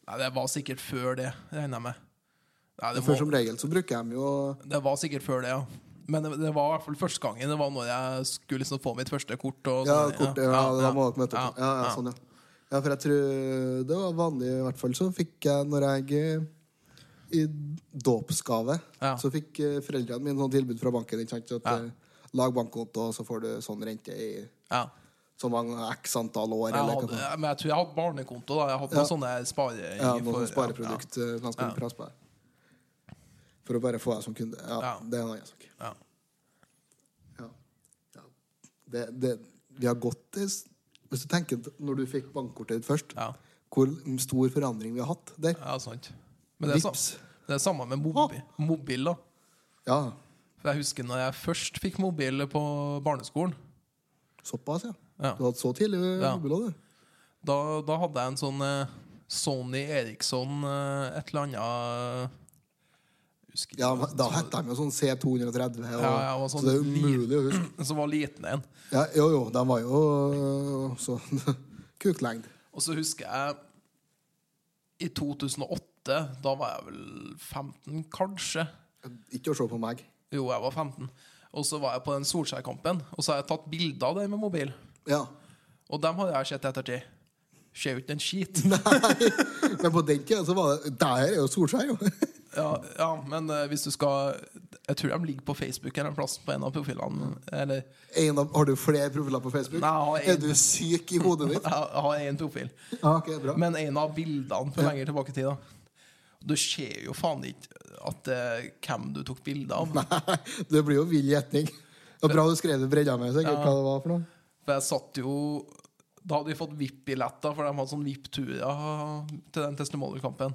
Nei, det var sikkert før det, regner jeg med. Nei, det, For som må, regel så bruker de jo det var sikkert før det, ja. Men det, det var i hvert fall første gangen. Det var når jeg skulle liksom få mitt første kort. Og Ja, sånn, kort, ja, da må dere møte opp. ja, Ja, ja, sånn, ja. Ja, for jeg tror det var vanlig, i hvert fall så fikk jeg når jeg eh, I dåpsgave Ja. så fikk eh, foreldrene mine sånn tilbud fra banken. Ikke sant? At, Ja. eh, Lag bankkonto, og så får du sånn rente i ja. så mange x antall år. Jeg eller hva hadde, det var. men jeg tror jeg hadde barnekonto. da Jeg hadde noen sånne spare... Ja, noe for- sånn spareprodukt eh, som jeg skulle Ja. prate på. For å bare få deg som kunde. Ja, Ja. Det er en annen sak. Ja, ja. Ja. Ja. Det, det, vi har gått i s- Hvis du tenker t- når du fikk bankkortet ditt først, Ja. hvor stor forandring vi har hatt der. ja, sant. Men det er, Vips. sam, det er samme med mobi, mobil. da Ja, For Jeg husker når jeg først fikk mobil på barneskolen. såpass, ja. Ja. Du hadde så tidlig Ja. mobil òg, du. Da, da hadde jeg en sånn eh, Sony Eriksson eh, et eller annet eh, Husker Ja, men da het de jo sånn C230, Ja, og, ja, og sånn så det er jo li- umulig å huske. som var liten en. Ja, jo, jo, de var jo øh, sånn kuklengd. Og så husker jeg i 2008, da var jeg vel 15 kanskje. Ikke å se på meg. Jo, jeg var 15. Og så var jeg på den Solskjær-kampen, og så har jeg tatt bilder av det med mobil. Ja. Og dem har jeg sett i ettertid. Ser jo ikke en skit. Men på den tida så var det Der er jo Solskjær, jo. Ja, ja men eh, hvis du skal Jeg tror de ligger på Facebook eller en plass på en av profilene. Eller En av, har du flere profiler på Facebook? Nei, jeg har en. er du syk i hodet ditt? jeg har én profil. Ja, ok, bra. Men en av bildene for lenger tilbake i tid, da. Du ser jo faen ikke at eh, hvem du tok bilde av. Nei, det blir jo vill gjetning. Det var bra du skrev det bredda med, sikkert hva det var for noe. For jeg satt jo Da hadde vi fått VIP-billetter, for de hadde sånn VIP-turer eh, til den testimonialkampen.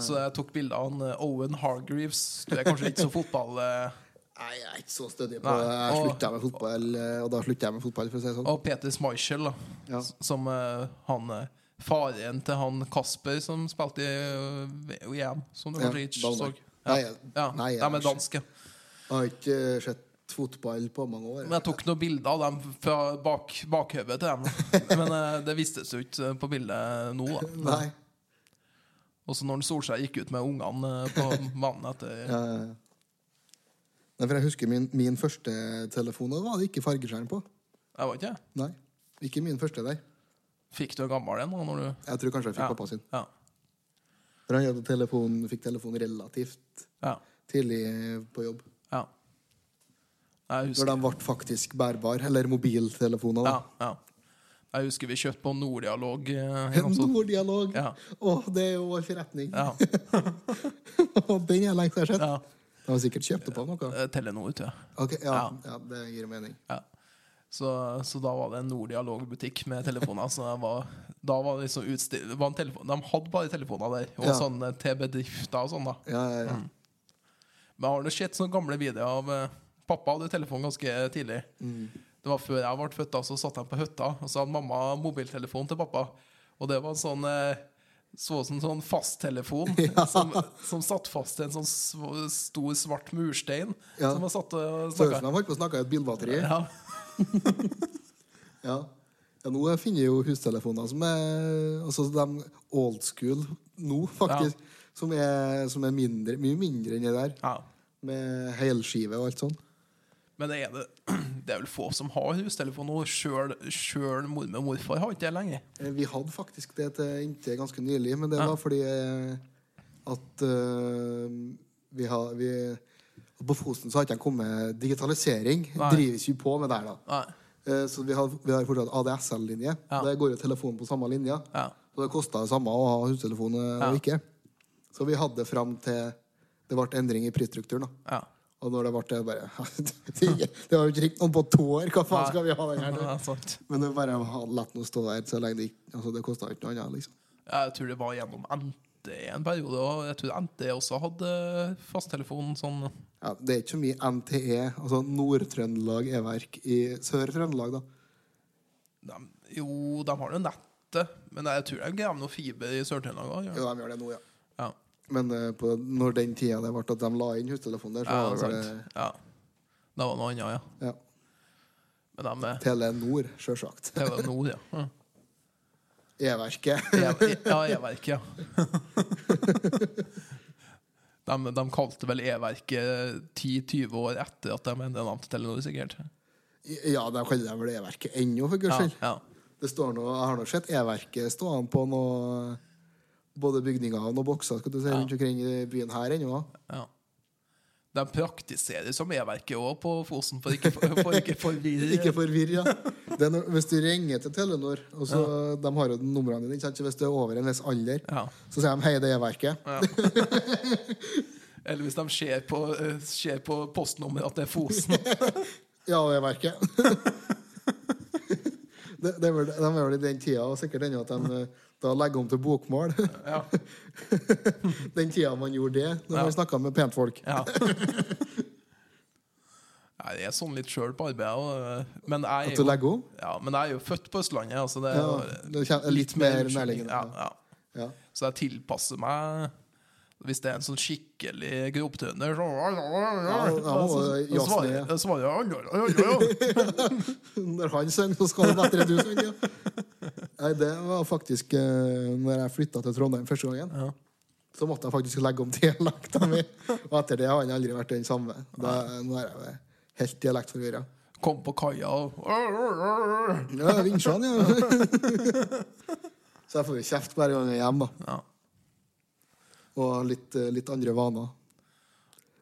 Så jeg tok bilde av han eh, Owen Hargreaves. Du er kanskje ikke så fotball... Eh, Nei, jeg er ikke så stødig på Nei, det. Jeg og- slutta med fotball, og da slutta jeg med fotball, for å si det sånn. Og Peter Schmeichel, da. Ja. s- Som eh, han eh, faren til han Kasper som spilte i eh, VM, som du Ja, kanskje ikke så. Danmark. Ja. Nei, ja. nei, jeg de har er danske. Jeg har ikke eh, sett fotball på mange år. Men jeg tok noen bilder av dem fra bak, bakhodet til dem. Men eh, det vistes jo ikke på bildet nå. da Nei. Også når Solskjær gikk ut med ungene eh, på banen etter ja. eh, Nei, for jeg husker min, min første telefon, og da var det ikke fargeskjerm på. Jeg var ikke det? Nei. Ikke min første, nei. Fikk du en gammel en da når du Jeg tror kanskje jeg fikk pappa sin. Ja. For han hadde telefon, fikk telefon relativt ja. tidlig på jobb. ja. Jeg husker Når de ble faktisk bærbar, eller mobiltelefoner. ja, da. ja. Jeg husker vi kjøpte på Norddialog. eh, i Namsos. Norddialog! Ja. Åh, det er jo vår forretning. Ja. Den er lengst jeg har sett. Ja. De har sikkert kjøpt opp av noe. Eh, Telenor, tror jeg. Ok, ja, Ja. ja, det gir mening. Ja. Så, så da var det en Nord-dialogbutikk med telefoner. Så jeg var, da var det liksom utstill, det var en telefon, De hadde bare telefoner der, og Ja. sånne til bedrifter og sånn. da Ja, ja, ja. Men jeg har nå sett sånne gamle videoer av eh, Pappa hadde jo telefon ganske tidlig. Mm. Det var før jeg ble født, da, så satt han på hytta, og så hadde mamma mobiltelefon til pappa. Og det var en sånn eh, så ut som en sånn fasttelefon som, som satt fast i en sånn sv- stor, svart murstein. Ja. Som var satt og Så ut som snakka. de holdt på å snakke i et bilbatteri. Ja. Ja. ja, nå finner jeg jo hustelefoner som er altså de old school nå, faktisk. Som er, som er mindre, mye mindre enn det der. Ja. Med helskive og alt sånt. Men det er, det, det er vel få som har hustelefon nå. Sjøl sjøl mormor og morfar har ikke det lenger. Eh, Vi hadde faktisk det til inntil ganske nylig, men det var fordi eh, at eh, vi har vi, at På Fosen så har ikke de kommet digitalisering. Nei. Drives jo på med der, da. Nei. Eh, Så vi har, vi har fortsatt ADSL-linje. Ja. Der går jo telefonen på samme linja. Ja. Så det kosta det samme å ha hustelefon eh, og ikke. Så vi hadde det fram til det ble endring i prisstrukturen. da. Ja. Og når det ble det, bare Det har jo ikke ringt noen på to år! Hva faen skal vi ha den her til? Ja, sant. Men det er bare å ha- la den stå der så lenge det ikke altså, Det kosta ikke noe annet, liksom. Jeg tror det var gjennom NT en periode, og jeg tror NT også hadde fasttelefon sånn Ja, det er ikke så mye NTE, altså Nord-Trøndelag E-verk, i Sør-Trøndelag, da. de, Jo, de har jo nettet, men jeg tror de graver noe fiber i Sør-Trøndelag òg. Jo, de gjør det nå, ja. Ja. Men eh, på, når den tida det ble at de la inn hustelefonen der, Ja, så var det sant. Ja. Det var noe annet, ja. ja, Men de er Telenor, sjølsagt. Telenor, ja. Mm. Ja. E-verket. E- Ja, E-verket, ja. De, de kalte vel E-verket 10-20 år etter at de endret navn til Telenor, sikkert. Ja, de kaller det vel E-verket ennå, for guds Ja, skyld. ja. Det står noe, Jeg har nå sett E-verket stående på noe både bygninger og noen bokser skal du si, rundt omkring i byen her ennå. da. ja. De praktiserer som E-verket òg på Fosen, for ikke for, for ikke forvirre Ikke forvirr, ja. Eh. Det er noe- Hvis du ringer til Telenor, og så, de har jo numrene dine, ikke sant? så hvis du er over en viss alder, Ja. så sier de 'hei, det er E-verket'. Eller hvis de ser på, eh, ser på postnummeret at det er Fosen. Ja, det er verket. det, det er vel, de er vel i den tida, og sikkert ennå, at de eh, da legger om til bokmål. Ja. den tida man gjorde det, når man snakka med pentfolk. Ja. Nei, Jeg er sånn litt sjøl på arbeidet. og, eh, Men jeg, At er du jo- legger om? ja, men jeg er jo født på Østlandet, altså det er Ja, jo det kjen- litt mer nærliggende, Ja, ja. Ja. Så jeg tilpasser meg hvis det er en sånn skikkelig grovtrønder så, ja, og så svarer jazzen er- jeg svarer jeg, «Oi, oi, oi, oi». Når han synger, så skal det lettere du synger. Ja. Nei, det var faktisk eh, Når jeg flytta til Trondheim første gangen, så måtte jeg faktisk legge om dialekta mi. Og etter det har han aldri vært den samme. Da, nå er jeg helt dialektforvirra. Kom på kaia og «Oi, oi, oi». Ja, vinsjene, ja. Så jeg får jo kjeft hver gang jeg er hjemme, da. Ja. Og litt, eh, litt andre vaner.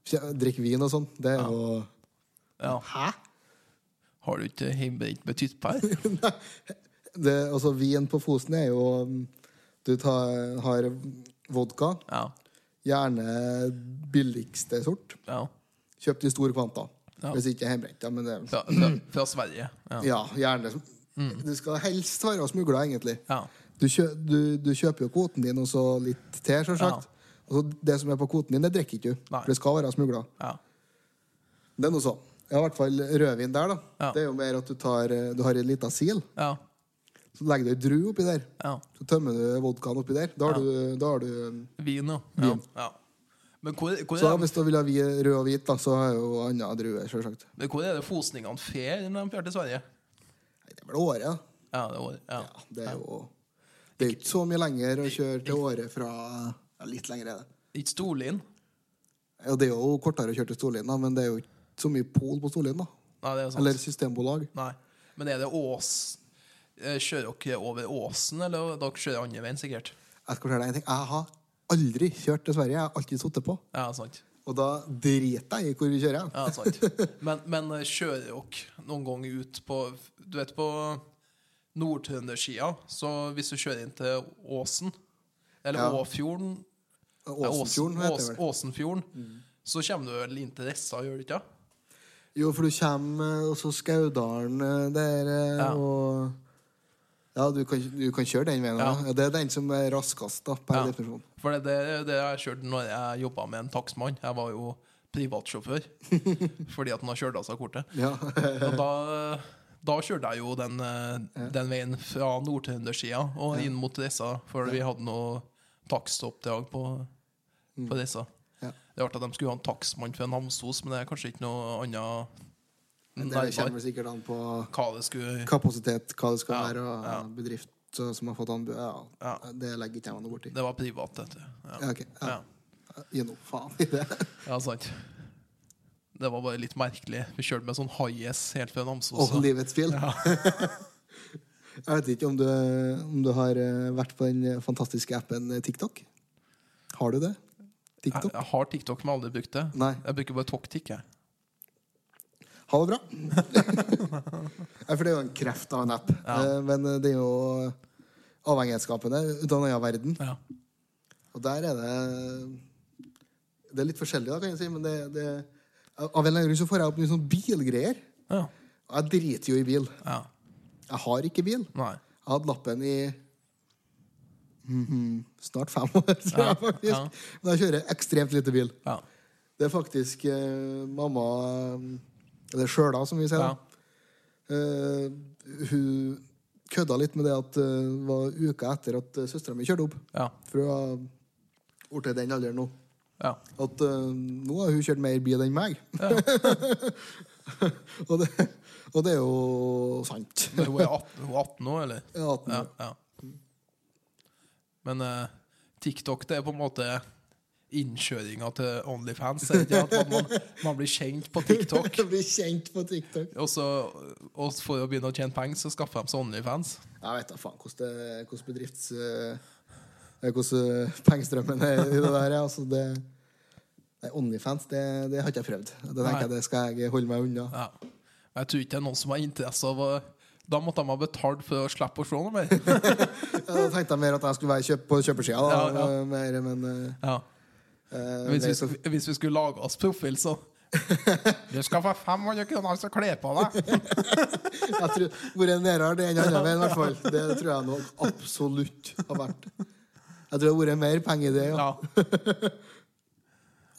Kje- Drikke vin og sånn, det er jo Ja. Hæ? Har du ikke hjemmebrent med tyttpær? Det, altså, vin på Fosen er jo mm, Du tar, har vodka, Ja. gjerne billigste sort, ja. kjøpt i stor kvanta. Ja. Hvis ikke hjemmebrent, ja, men det Fra, fra, fra Sverige. Ja. Mm. Ja, gjerne. Du skal helst være smugla, egentlig. Ja. Du, kjø, du, du kjøper jo kvoten din og så litt til, selvsagt. Og så det som er på kvoten din, det drikker ikke du. Nei. For det skal være smugla. Ja. Det er noe sånn. Ja, I hvert fall rødvin der, da. Ja. Det er jo mer at du, tar, eh, du har en lita sil, Ja. så legger du ei drue oppi der. Ja. Så tømmer du vodkaen oppi der. Da har du, da har du Vin, ja. ja. ja. Men, hvor, hvor Så er, hvis du vil ha vi- rød og hvit, da, så har jo anna drue, selvsagt. men hvor er det fosningene fer når de drar til Sverige? Nei, Det er vel året, da. Ja, det var, ja. Ja, det er jo Det er jo ikke så mye lenger å kjøre til året fra ja, Litt lenger er det. Ikke Storlien? Ja, det er jo kortere å kjøre til Storlien, da, men det er jo ikke så mye pol på Storlien. da. Nei, det er sant. Eller systembolag. Nei. Men er det Ås eh, Kjører dere over Åsen, eller dere kjører andre veien, sikkert? Jeg skal fortelle deg en ting. Jeg har aldri kjørt til Sverige. Jeg har alltid sittet på. Ja, sant. Og da driter jeg i hvor vi kjører. Ja, sant. Men, men eh, kjører dere noen gang ut på Du vet, på nordtrøndersida, så hvis du kjører inn til Åsen, eller Åfjorden Ja, Åsen- Åsenfjorden heter det Ås- vel. Mm. Åsenfjorden. Så kommer du vel inn til Ressa, gjør du ikke? det? Jo, for du kommer eh, og så Skaudalen eh, der eh, Ja. og Ja, du kan, du kan kjøre den veien. Ja. da. Ja. Det er den som er raskest, da, per Ja. definisjon. For det, det, det har jeg kjørt når jeg jobba med en takstmann. Jeg var jo privatsjåfør fordi at han har kjørt av seg kortet. Ja. Og da, da kjørte jeg jo den, eh, den veien fra nord-trøndersida og inn mot Rissa, for vi hadde noe takstoppdrag på, på Rissa. Ja. Det er artig at de skulle ha en takstmann fra Namsos, men det er kanskje ikke noe annet Det kommer sikkert an på hva det skulle kapasitet, hva det skal Ja, være, og bedrift så- som har fått anbud. Ja, Ja. Det legger ikke jeg meg noe borti. Det var privat, dette. Ja. Ja, ok. Ja. ja. Gi noe faen i det. ja, sant. Det var bare litt merkelig. Vi kjørte med sånn high-ass helt fra Namsos. Og så- livets bil. jeg vet ikke om du, om du har eh, vært på den fantastiske appen eh, TikTok? Har du det? Jeg, TikTok? jeg har TikTok, men aldri brukt det. Nei. Jeg bruker bare Toktik. jeg. Ha det bra. Nei, for det er jo en kreft av en app. Eh, Men eh, det er jo avhengighetsskapende ut av en annen verden. Ja. Og der er det Det er litt forskjellig, da, kan jeg si, men det, det Av en eller annen grunn så får jeg opp mye sånn bilgreier. Ja. Og jeg driter jo i bil. ja. Jeg har ikke bil. Nei. Jeg hadde lappen i mhm, snart fem år, tror jeg faktisk. ja. Men jeg kjører ekstremt lite bil. Ja. Det er faktisk eh, mamma eh, Eller sjøla, som vi sier. Ja. da. Eh, hun kødda litt med det at eh, det var uka etter at uh, søstera mi kjørte opp. Ja. For hun har blitt i den alderen nå. ja. At eh, nå har hun kjørt mer bil enn meg. og, det, og det er jo sant. Men hun er 18, hun er 18 nå, eller? Jeg er 18 Ja. år. ja. Men eh, TikTok det er på en måte innkjøringa til Onlyfans. Er det ikke? At man, man, man blir kjent på TikTok. Jeg blir kjent på TikTok. Og, så, og for å begynne å tjene penger, så skaffer de seg Onlyfans. Jeg vet da faen hvordan, det, hvordan bedrifts... eh, eh, hvordan pengestrømmen er i det der. ja. Altså, det, nei, Onlyfans, det, det har ikke jeg prøvd. Det tenker Nei. jeg det skal jeg holde meg unna. Ja. Men Jeg tror ikke det er noen som har interesse av å Da måtte de ha betalt for å slippe å se noe mer. Da tenkte jeg mer at jeg skulle være kjøp, på kjøpersida. da, Ja, ja. eh, Mer, men eh, Ja. eh, Hvis, det- vi, sk- hvis vi skulle lage oss profil, så Du skal få 500 kroner hvis du kler på deg! Jeg tror, Hvor en nærere det enn andre veien, i hvert fall. Det tror jeg nok absolutt har vært. Jeg tror det har vært mer penger i det. Ja. Ja.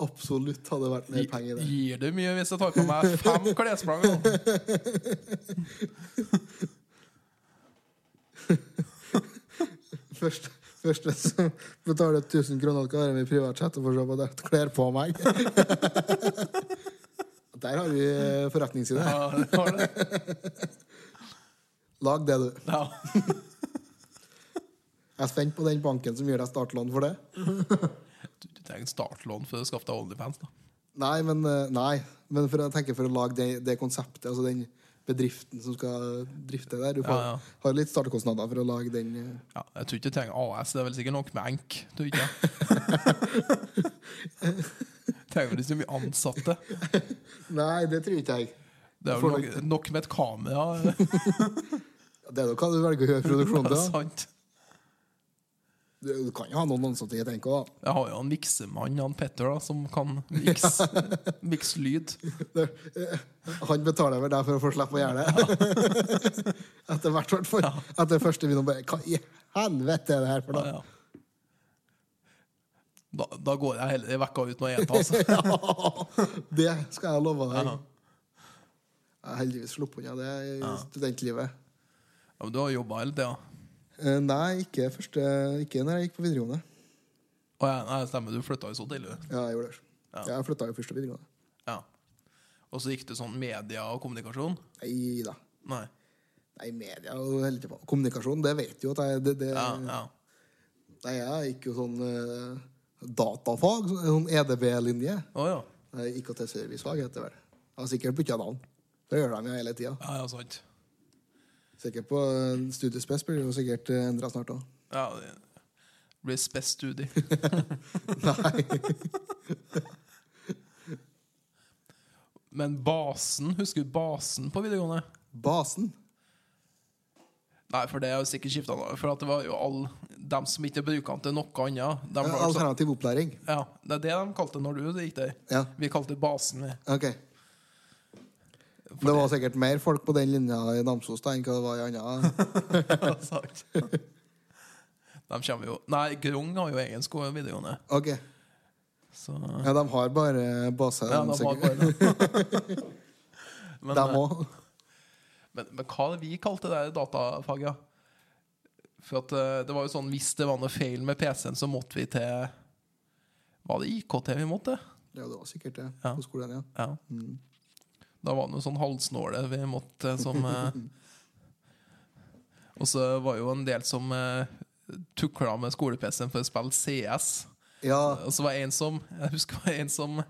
Absolutt hadde det vært mer penger i det. Gir du mye hvis jeg tar på meg fem klesplagg? nå? Først, først som betaler 1000 kroner, skal være med i privat chat og få se på det. Klær på meg. Der har vi forretningsside. Ja, det var det. Lag det, du. Ja. Jeg er spent på den banken som gir deg startlån for det. Du du trenger startlån for å skaffe deg Onlyfans. da Nei, men, eh, nei. men for, jeg tenker for å lage det, det konseptet, altså den bedriften som skal drifte der. Du får, Ja, ja. har litt startkostnader for å lage den. eh. ja, Jeg tror ikke du trenger AS. Det er vel sikkert nok med enk. Tror ikke jeg. Trenger vel ikke så mye ansatte. Nei, det tror ikke jeg. Det er Får vel nok, nok med et kamera. Det er jo hva du velger å gjøre produksjonen Det til. er da. sant. Du, du kan jo ha noen ansatte, jeg tenker da. Jeg har jo en miksemann, han Petter, da, som kan mikse miks lyd. Det, eh, han betaler vel deg for å få slippe å gjøre det. Etter hvert, hvert fall. Etter første video bare Hva i helvete er det her for Ja, noe? ja. Da, da går jeg heller i vekka uten å ete, altså. Det skal jeg love deg. Ja. Jeg har heldigvis sluppet unna det i studentlivet. Ja, men du har jobba hele tida. Eh, Nei, ikke, første, ikke når jeg gikk på videregående. Å ja, nei, stemmer, du flytta jo så tidlig. du. Ja, jeg gjorde det. Jeg flytta jo først til videregående. Ja. Og så gikk det sånn media og kommunikasjon? Nei da. Nei. Nei, media og hele tiden. Kommunikasjon, det vet jo at jeg det, det, Ja, ja. Nei, jeg gikk jo sånn eh, datafag, så- sånn EDB-linje. Å ja. Nei, IKT-servicefag heter det vel. Jeg har sikkert bytta navn. Det gjør de jo hele tida. Ja, ja, sant. Sikkert på eh, Studiespes blir det jo sikkert endra snart òg. Ja, det blir spes-studie. Men basen, husker du basen på videregående? Basen. Nei, for det er jo sikkert skifta nå. For at det var jo alle dem som ikke bruker den til noe annet. De var altså, Eh, Alternativ opplæring. ja, det er det de kalte det når du gikk der. Ja. Vi kalte det basen. vi. Ok. Det var sikkert mer folk på den linja i Namsos da enn hva det var i andre. Sagt. de kommer jo Nei, Grong har jo egen skole videregående. Ok. Så Ja, de har bare base. ja, da de var sikkert. bare det. Men, eh, Dem også. Men, men hva er det vi kalte det der datafaget? For at eh, det var jo sånn, Hvis det var noe feil med PC-en, så måtte vi til Var det IKT vi måtte? Ja, det var sikkert det. Ja. På skolen, ja. Ja. Da var det noe sånn halvsnåle vi måtte som eh, Og så var jo en del som eh, tukla med skole-PC-en for å spille CS. Ja, Og så var det en som Jeg husker det var en som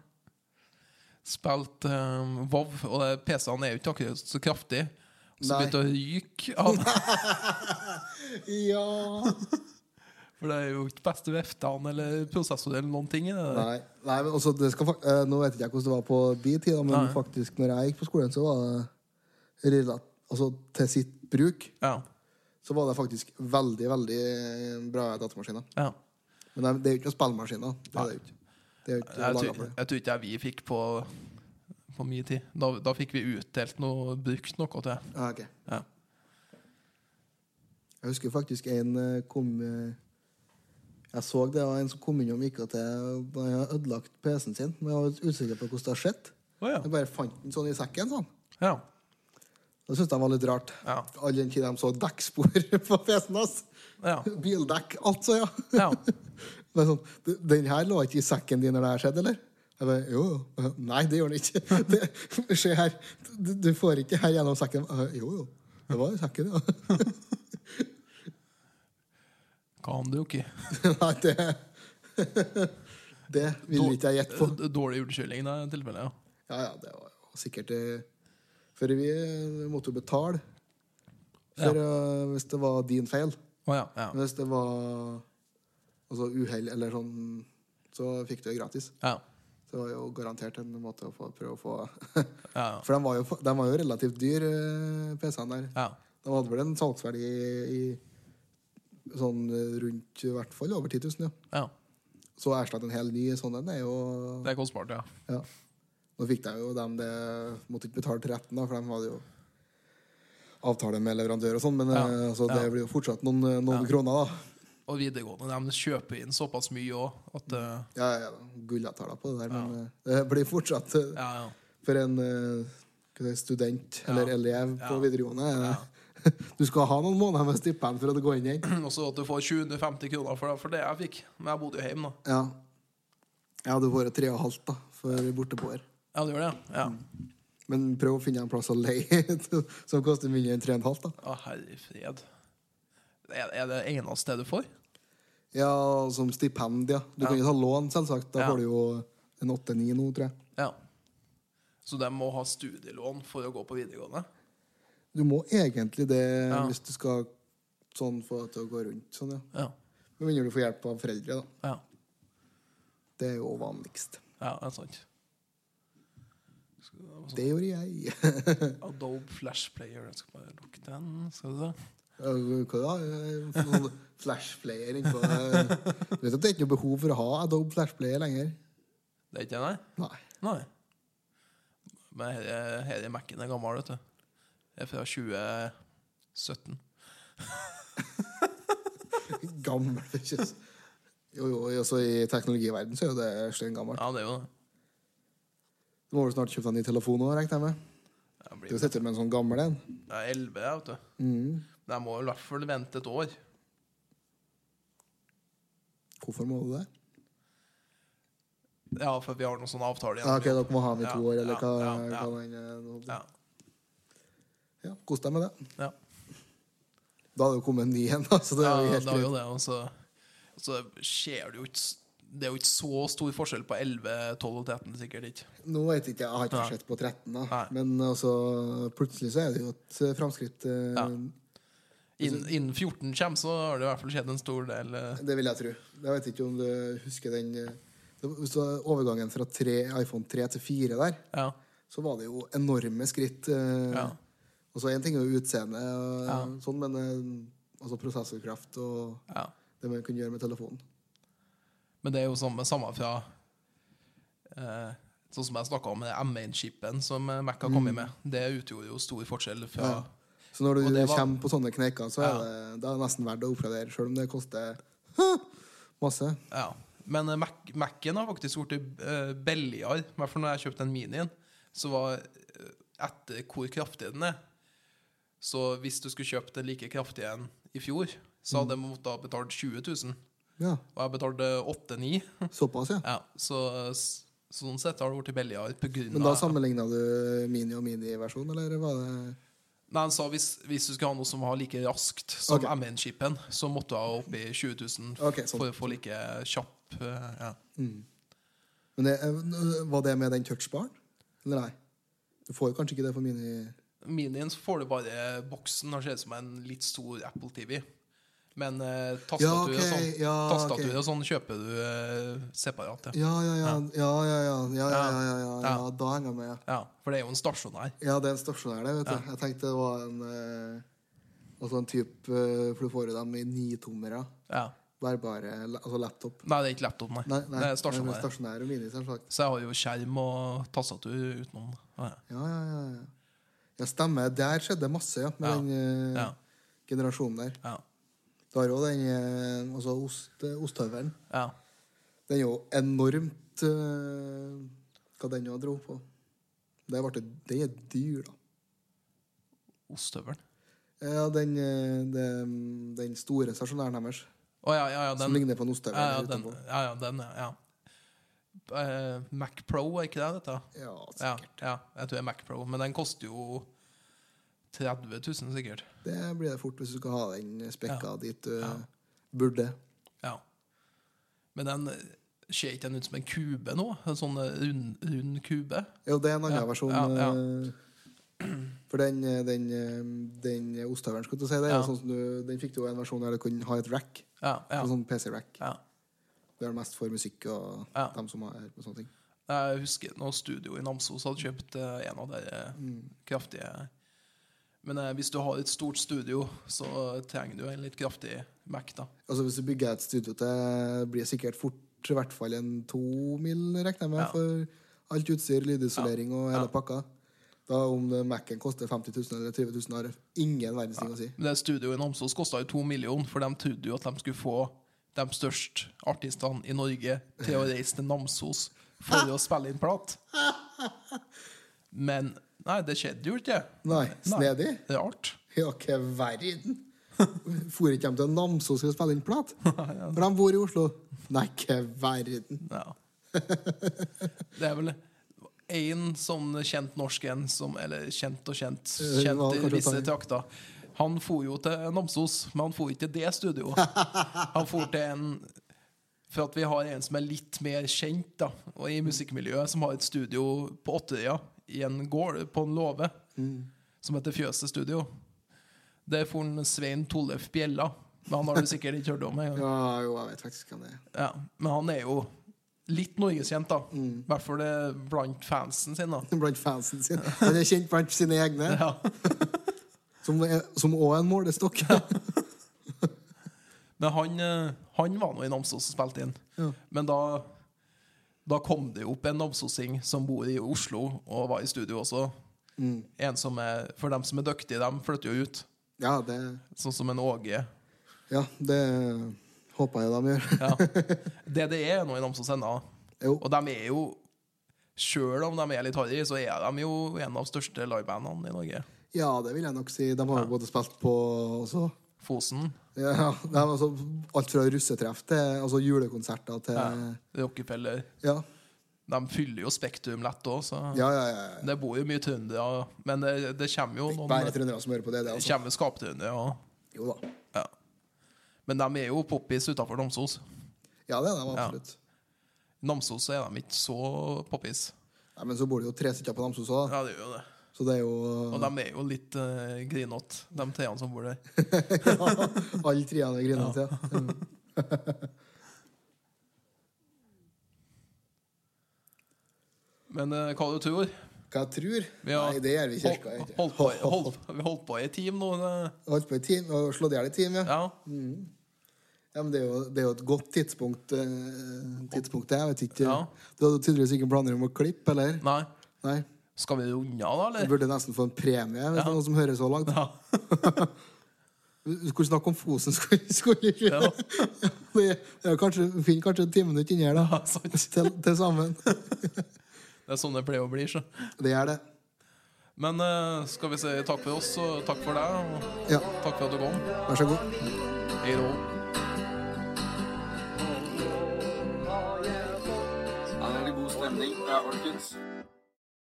spilte um, WoW, og det- PC-en er jo ikke akkurat så kraftig. Så Nei. begynte å ryke av ja. For det er jo ikke beste veftan eller prosessor eller noen ting i det. der. Nei, Nei men også, det skal, fak- eh, nå vet ikke jeg hvordan det var på de tida, men Nei. faktisk når jeg gikk på skolen, så var det relat- altså, til sitt bruk Ja, så var det faktisk veldig, veldig eh, bra datamaskiner. ja. Men det er- det er jo ikke noen spillmaskiner. Det er det jo ikke. Det er jo ikke Jeg, laget tror, for det. jeg tror ikke jeg vi fikk på På min tid. Da, da fikk vi utdelt noe, brukt noe til det. Ah, ok. Ja. Jeg husker faktisk en eh, kom eh, Jeg så det var en som kom innom IKT og hadde ødelagt PC-en sin. Men jeg var litt usikker på hvordan det hadde skjedd. Å ja. Jeg bare fant den sånn i sekken. sånn. ja. Det syntes jeg var litt rart. Ja. All den tid de så dekkspor på PC-en hans. Ja. Bildekk, altså, ja. Ja. Men sånn, «Du, den her lå ikke i sekken din når det her skjedde, eller? Jeg bare, jo, jo. Nei, det gjør den ikke. Det, se her. Du, du får ikke her gjennom sekken. «Eh, Jo, jo. Det var i sekken, ja. Kan du jo ikke. Nei, det Det vil ikke jeg gjette på. D- Dårlig unnskyldning da, i tilfelle. Ja. Ja, ja, det var jo sikkert eh, For vi eh, måtte jo betale for, eh, hvis det var din feil. Å ja. Ja. Hvis det var altså uhell eller sånn, så fikk du det gratis. Ja. Det var jo garantert en måte å få, prøve å få Ja. For de var jo, de var jo relativt dyr, eh, PC-ene der. ja. De hadde vel en salgsverdi i, i sånn eh, rundt i hvert fall over 10 000, ja. ja. Så å erstatte en hel ny sånn en er jo Det er kostbart, ja. ja. Nå fikk de jo dem det Måtte ikke betale til retten, da, for de hadde jo avtale med leverandør og sånn, men Ja, eh, altså, det ja. blir jo fortsatt noen, noen kroner, da. Og videregående de kjøper inn såpass mye òg at eh, Ja, ja, Gullavtaler på det der, men eh, det blir fortsatt eh, Ja, ja. for en eh, hva det er, student eller Ja. elev på Ja. videregående. eh, Du skal ha noen måneder med stipend for å gå inn igjen. Også at du får 750 kroner for det, for det jeg fikk. Men jeg bodde jo hjemme, da. Ja. Jeg hadde vært tre og et halvt da, for borteboer. Ja, du gjør det? Ja. Men prøv å finne en plass å leie som koster mindre enn tre og en halvt. da. Å, herre fred. Er, er det eneste du får? Ja, som stipend, ja. Du kan jo ta lån, selvsagt. Da Ja. får du jo en åtte-ni nå, tror jeg. Ja. Så de må ha studielån for å gå på videregående? Du må egentlig det Ja. hvis du skal sånn få det til å gå rundt. sånn, ja. Ja. Med mindre du får hjelp av foreldre, da. Ja, Det er jo vanligst. ja det er sant. Det gjorde jeg. Adobe Flash Player. Jeg skal bare lukke den. Skal vi se. Ja, Hva da? Eh, sånn Flashplayer innpå eh, Du vet at det er ikke noe behov for å ha Adobe Flashplayer lenger? Det er ikke den, nei? Nei. Nei. Men her er- her i Mac-en er gammel, vet du. Det er fra 2017. Gammel kjøss. Jo, jo, altså I teknologiverdenen så er jo det steingammelt. Ja, det er jo det. Du må vel snart kjøpe deg en ny telefon òg, regner jeg med? Jeg Du blir sitter med en sånn gammel en. jeg er 11, jeg, vet du. Mm. Men jeg må i hvert fall vente et år. Hvorfor må du det? Ja, for vi har noen sånne avtaler igjen. Ja, Ah, ok, Dere må ha den i to Ja, år, eller ja, hva? ja, ja. hva den, eh, nå- Ja, ja, Kos deg med det. ja. Da hadde det jo kommet en ny en. da, så det Ja, er jo det helt er jo greit. det. Og så, og så skjer det jo ikke s- Det er jo ikke så stor forskjell på 11, 12 og 13, sikkert ikke. Nå vet jeg ikke, jeg har ikke Nei. sett på 13, da. Nei. Men altså, plutselig så er det jo et eh, framskritt. eh, Ja. Innen, Mm. innen 14 kommer, så har det i hvert fall skjedd en stor del eh, Det vil jeg tro. Jeg vet ikke om du husker den eh, det var- hvis det var overgangen fra tre, iPhone 3 til 4 der, Ja. så var det jo enorme skritt. eh, Ja. Og så én ting er jo utseende, og Ja. sånn, men eh, altså prosessorkraft og ja. det man kunne gjøre med telefonen. Men det er jo samme, samme fra eh, Sånn som jeg snakka om M1-chipen som eh, Mac har kommet med. Det utgjorde jo stor forskjell fra Mm. Ja. Så når du Og det var- kommer på sånne kneiker, så er Ja. det, da er det nesten verdt å oppgradere, sjøl om det koster masse. Ja. Men eh, Mac, Mac-en har faktisk blitt uh, billigere. I hvert fall når jeg kjøpte den minien. Så var eh, etter hvor kraftig den er Så hvis du skulle kjøpt en like kraftig en i fjor, så hadde jeg Mm. måttet ha betalt 20 000. Ja, Og jeg betalte 8-9 Såpass, ja. ja, så s- sånn sett har det blitt billigere. På grunn Men da av- sammenligna du mini og mini-versjon, eller var det Nei, han sa hvis, hvis du skulle ha noe som var like raskt som Ok. MN-chipen, så måtte du ha opp i 20 000 f- Ok, sånn. for å få like kjapp eh, ja. Men det, eh, Var det med den touchbaren? Eller nei? Du får jo kanskje ikke det for mini... Minien så får du bare boksen. Den ser ut som en litt stor Apple TV. Men eh, Ja, tastatur ok, og sånn ja, Tastatur ok. og sånn kjøper du eh, separat. Ja. Ja, ja, ja. Ja, ja, ja. ja, ja, ja, ja, ja, Ja. Da henger jeg med. ja. Ja, for det er jo en stasjonær. Ja, det er en stasjonær, det. vet du. Jeg tenkte det var en eh, Altså en type eh, For du får jo dem i nitommere. Ja. Bærbare la- Altså laptop. Nei, det er ikke laptop, nei. Nei, nei, det er nei, men stasjonær. stasjonær og mini, selvsagt. Så jeg har jo skjerm og tastatur utenom. Ja. Ja, ja, ja. ja. Ja, stemmer. Der skjedde masse, ja, med Ja. den eh, Ja. generasjonen der. Ja. Du har jo den eh, Altså ost, osthøvelen. ja. Den er jo enormt eh, Hva den nå dro på. Det ble, den er dyr, da. Ostehøvelen. Ja, den, eh, den, den store stasjonæren deres. Å ja, ja, ja, som den ligner på en ostehøvel. Ja, ja, her den, utenpå. ja, ja, den ja, ja. Eh, Mac Pro, er ikke det dette? Ja, altså, Ja, ja, jeg tror det er Mac Pro, men den koster jo 30 000 sikkert. Det blir det fort hvis du skal ha den spekka dit du burde. Ja. Men den eh, ser ikke den ut som en kube nå? En sånn eh, rund, rund kube? Jo, det er en annen Ja, versjon. ja, ja. eh, For den, eh, den, eh, den ostehøvelen, skulle du si, det er jo Ja. sånn som du, den fikk du jo en versjon der du kunne ha et rack. Ja. ja, En sånn PC-rack. ja. Det er mest for musikk og Ja. dem som er på sånne ting. Jeg husker noe studio i Namsos hadde kjøpt eh, en av de eh, kraftige Men eh, hvis du har et stort studio, så trenger du en litt kraftig Mac, da. Altså Hvis du bygger et studio til, blir det sikkert fort i hvert fall en to mil, regner jeg med, Ja. for alt utstyr, lydisolering og hele Ja. pakka. Da Om det- Mac-en koster 50 000 eller 20 000, har ingen verdens ting å si. Men Det studioet i Namsos kosta jo to millioner, for de trodde jo at de skulle få de største artistene i Norge til å reise til Namsos for å spille inn plat. Men nei, det skjedde jo ikke. Nei, snedig? Rart. Ja, hva verden? For ikke de til Namsos for å spille inn plat? For de bor i Oslo. Nei, hva verden? Ja. Det er vel én sånn kjent norsk en som Eller kjent og kjent, kjent i hva kan du ta visse i? trakter. Han for jo til Namsos, men han for ikke til det studioet. Han for til en For at vi har en som er litt mer kjent da Og i musikkmiljøet, som har et studio på Åtterøya, i en gård på en låve, som heter Fjøset Studio. Der for han Svein Tollef Bjella. Men han har du sikkert ikke hørt om engang. Ja, jo, jeg vet faktisk hvem det er. Ja, men han er jo litt norgeskjent, da. I hvert fall det blant fansen sin, da. Blant fansen sin. Han er kjent blant sine egne, Ja. som er- som òg er en målestokk. Men han, eh, han var nå i Namsos og spilte inn. Men da da kom det jo opp en namsosing som bor i Oslo og var i studio også. En som er, for dem som er dyktige, dem flytter jo ut. Ja, det Sånn som en Åge. Ja, det håper jeg de gjør. Ja. DDE er nå i Namsos ennå. Jo. Og de er jo Sjøl om de er litt harry, så er de jo en av største livebandene i Norge. Ja, det vil jeg nok si. De har jo både spilt på også. Fosen, Ja, de har altså alt fra russetreff til altså julekonserter til ja. Rockefeller Ja, De fyller jo Spektrum lett òg, så ja, ja. ja. det bor jo mye trøndere. Men det, det kommer jo noen Bare Det trøndere som hører på det. det altså. kommer skaptrøndere òg. Jo da. Ja. Men de er jo poppis utafor Namsos. Ja, det er de absolutt. I Namsos er de ikke så poppis. Nei, men så bor det jo tre stykker på Namsos òg, Ja, det gjør jo det. så det er Og jo de er jo litt uh, grinete, de treene som bor der. eh, alle treene er griner til. Mm. Men eh, hva du tror? Hva jeg tror? Vi har Nei, det gjør vi i kirka. hold- ikke. holdt på, holdt, vi har holdt på i en time nå. det- Holdt på i team, og slått i hjel i team, ja. Ja. Ja, men det er, jo, det er jo et godt tidspunkt, eh, tidspunkt det. Jeg vet ikke. Ja. Du hadde tydeligvis ikke planer om å klippe, eller? Nei. Nei. Skal vi runde av, da, Jeg eller? burde nesten få en premie hvis det er noen som hører så langt. Ja. Vi skulle snakke om Fosen skole. skole. Ja. det er kanskje, vi finner kanskje ti minutter inni her, da. Ja, sant. Til, til sammen. Det er sånn det pleier å bli. Så. Det er det. Men eh, skal vi si takk for oss, og takk for deg, og Ja, takk for at du kom. vær så god. Hei då. Her er det god stemning. Det er orkens.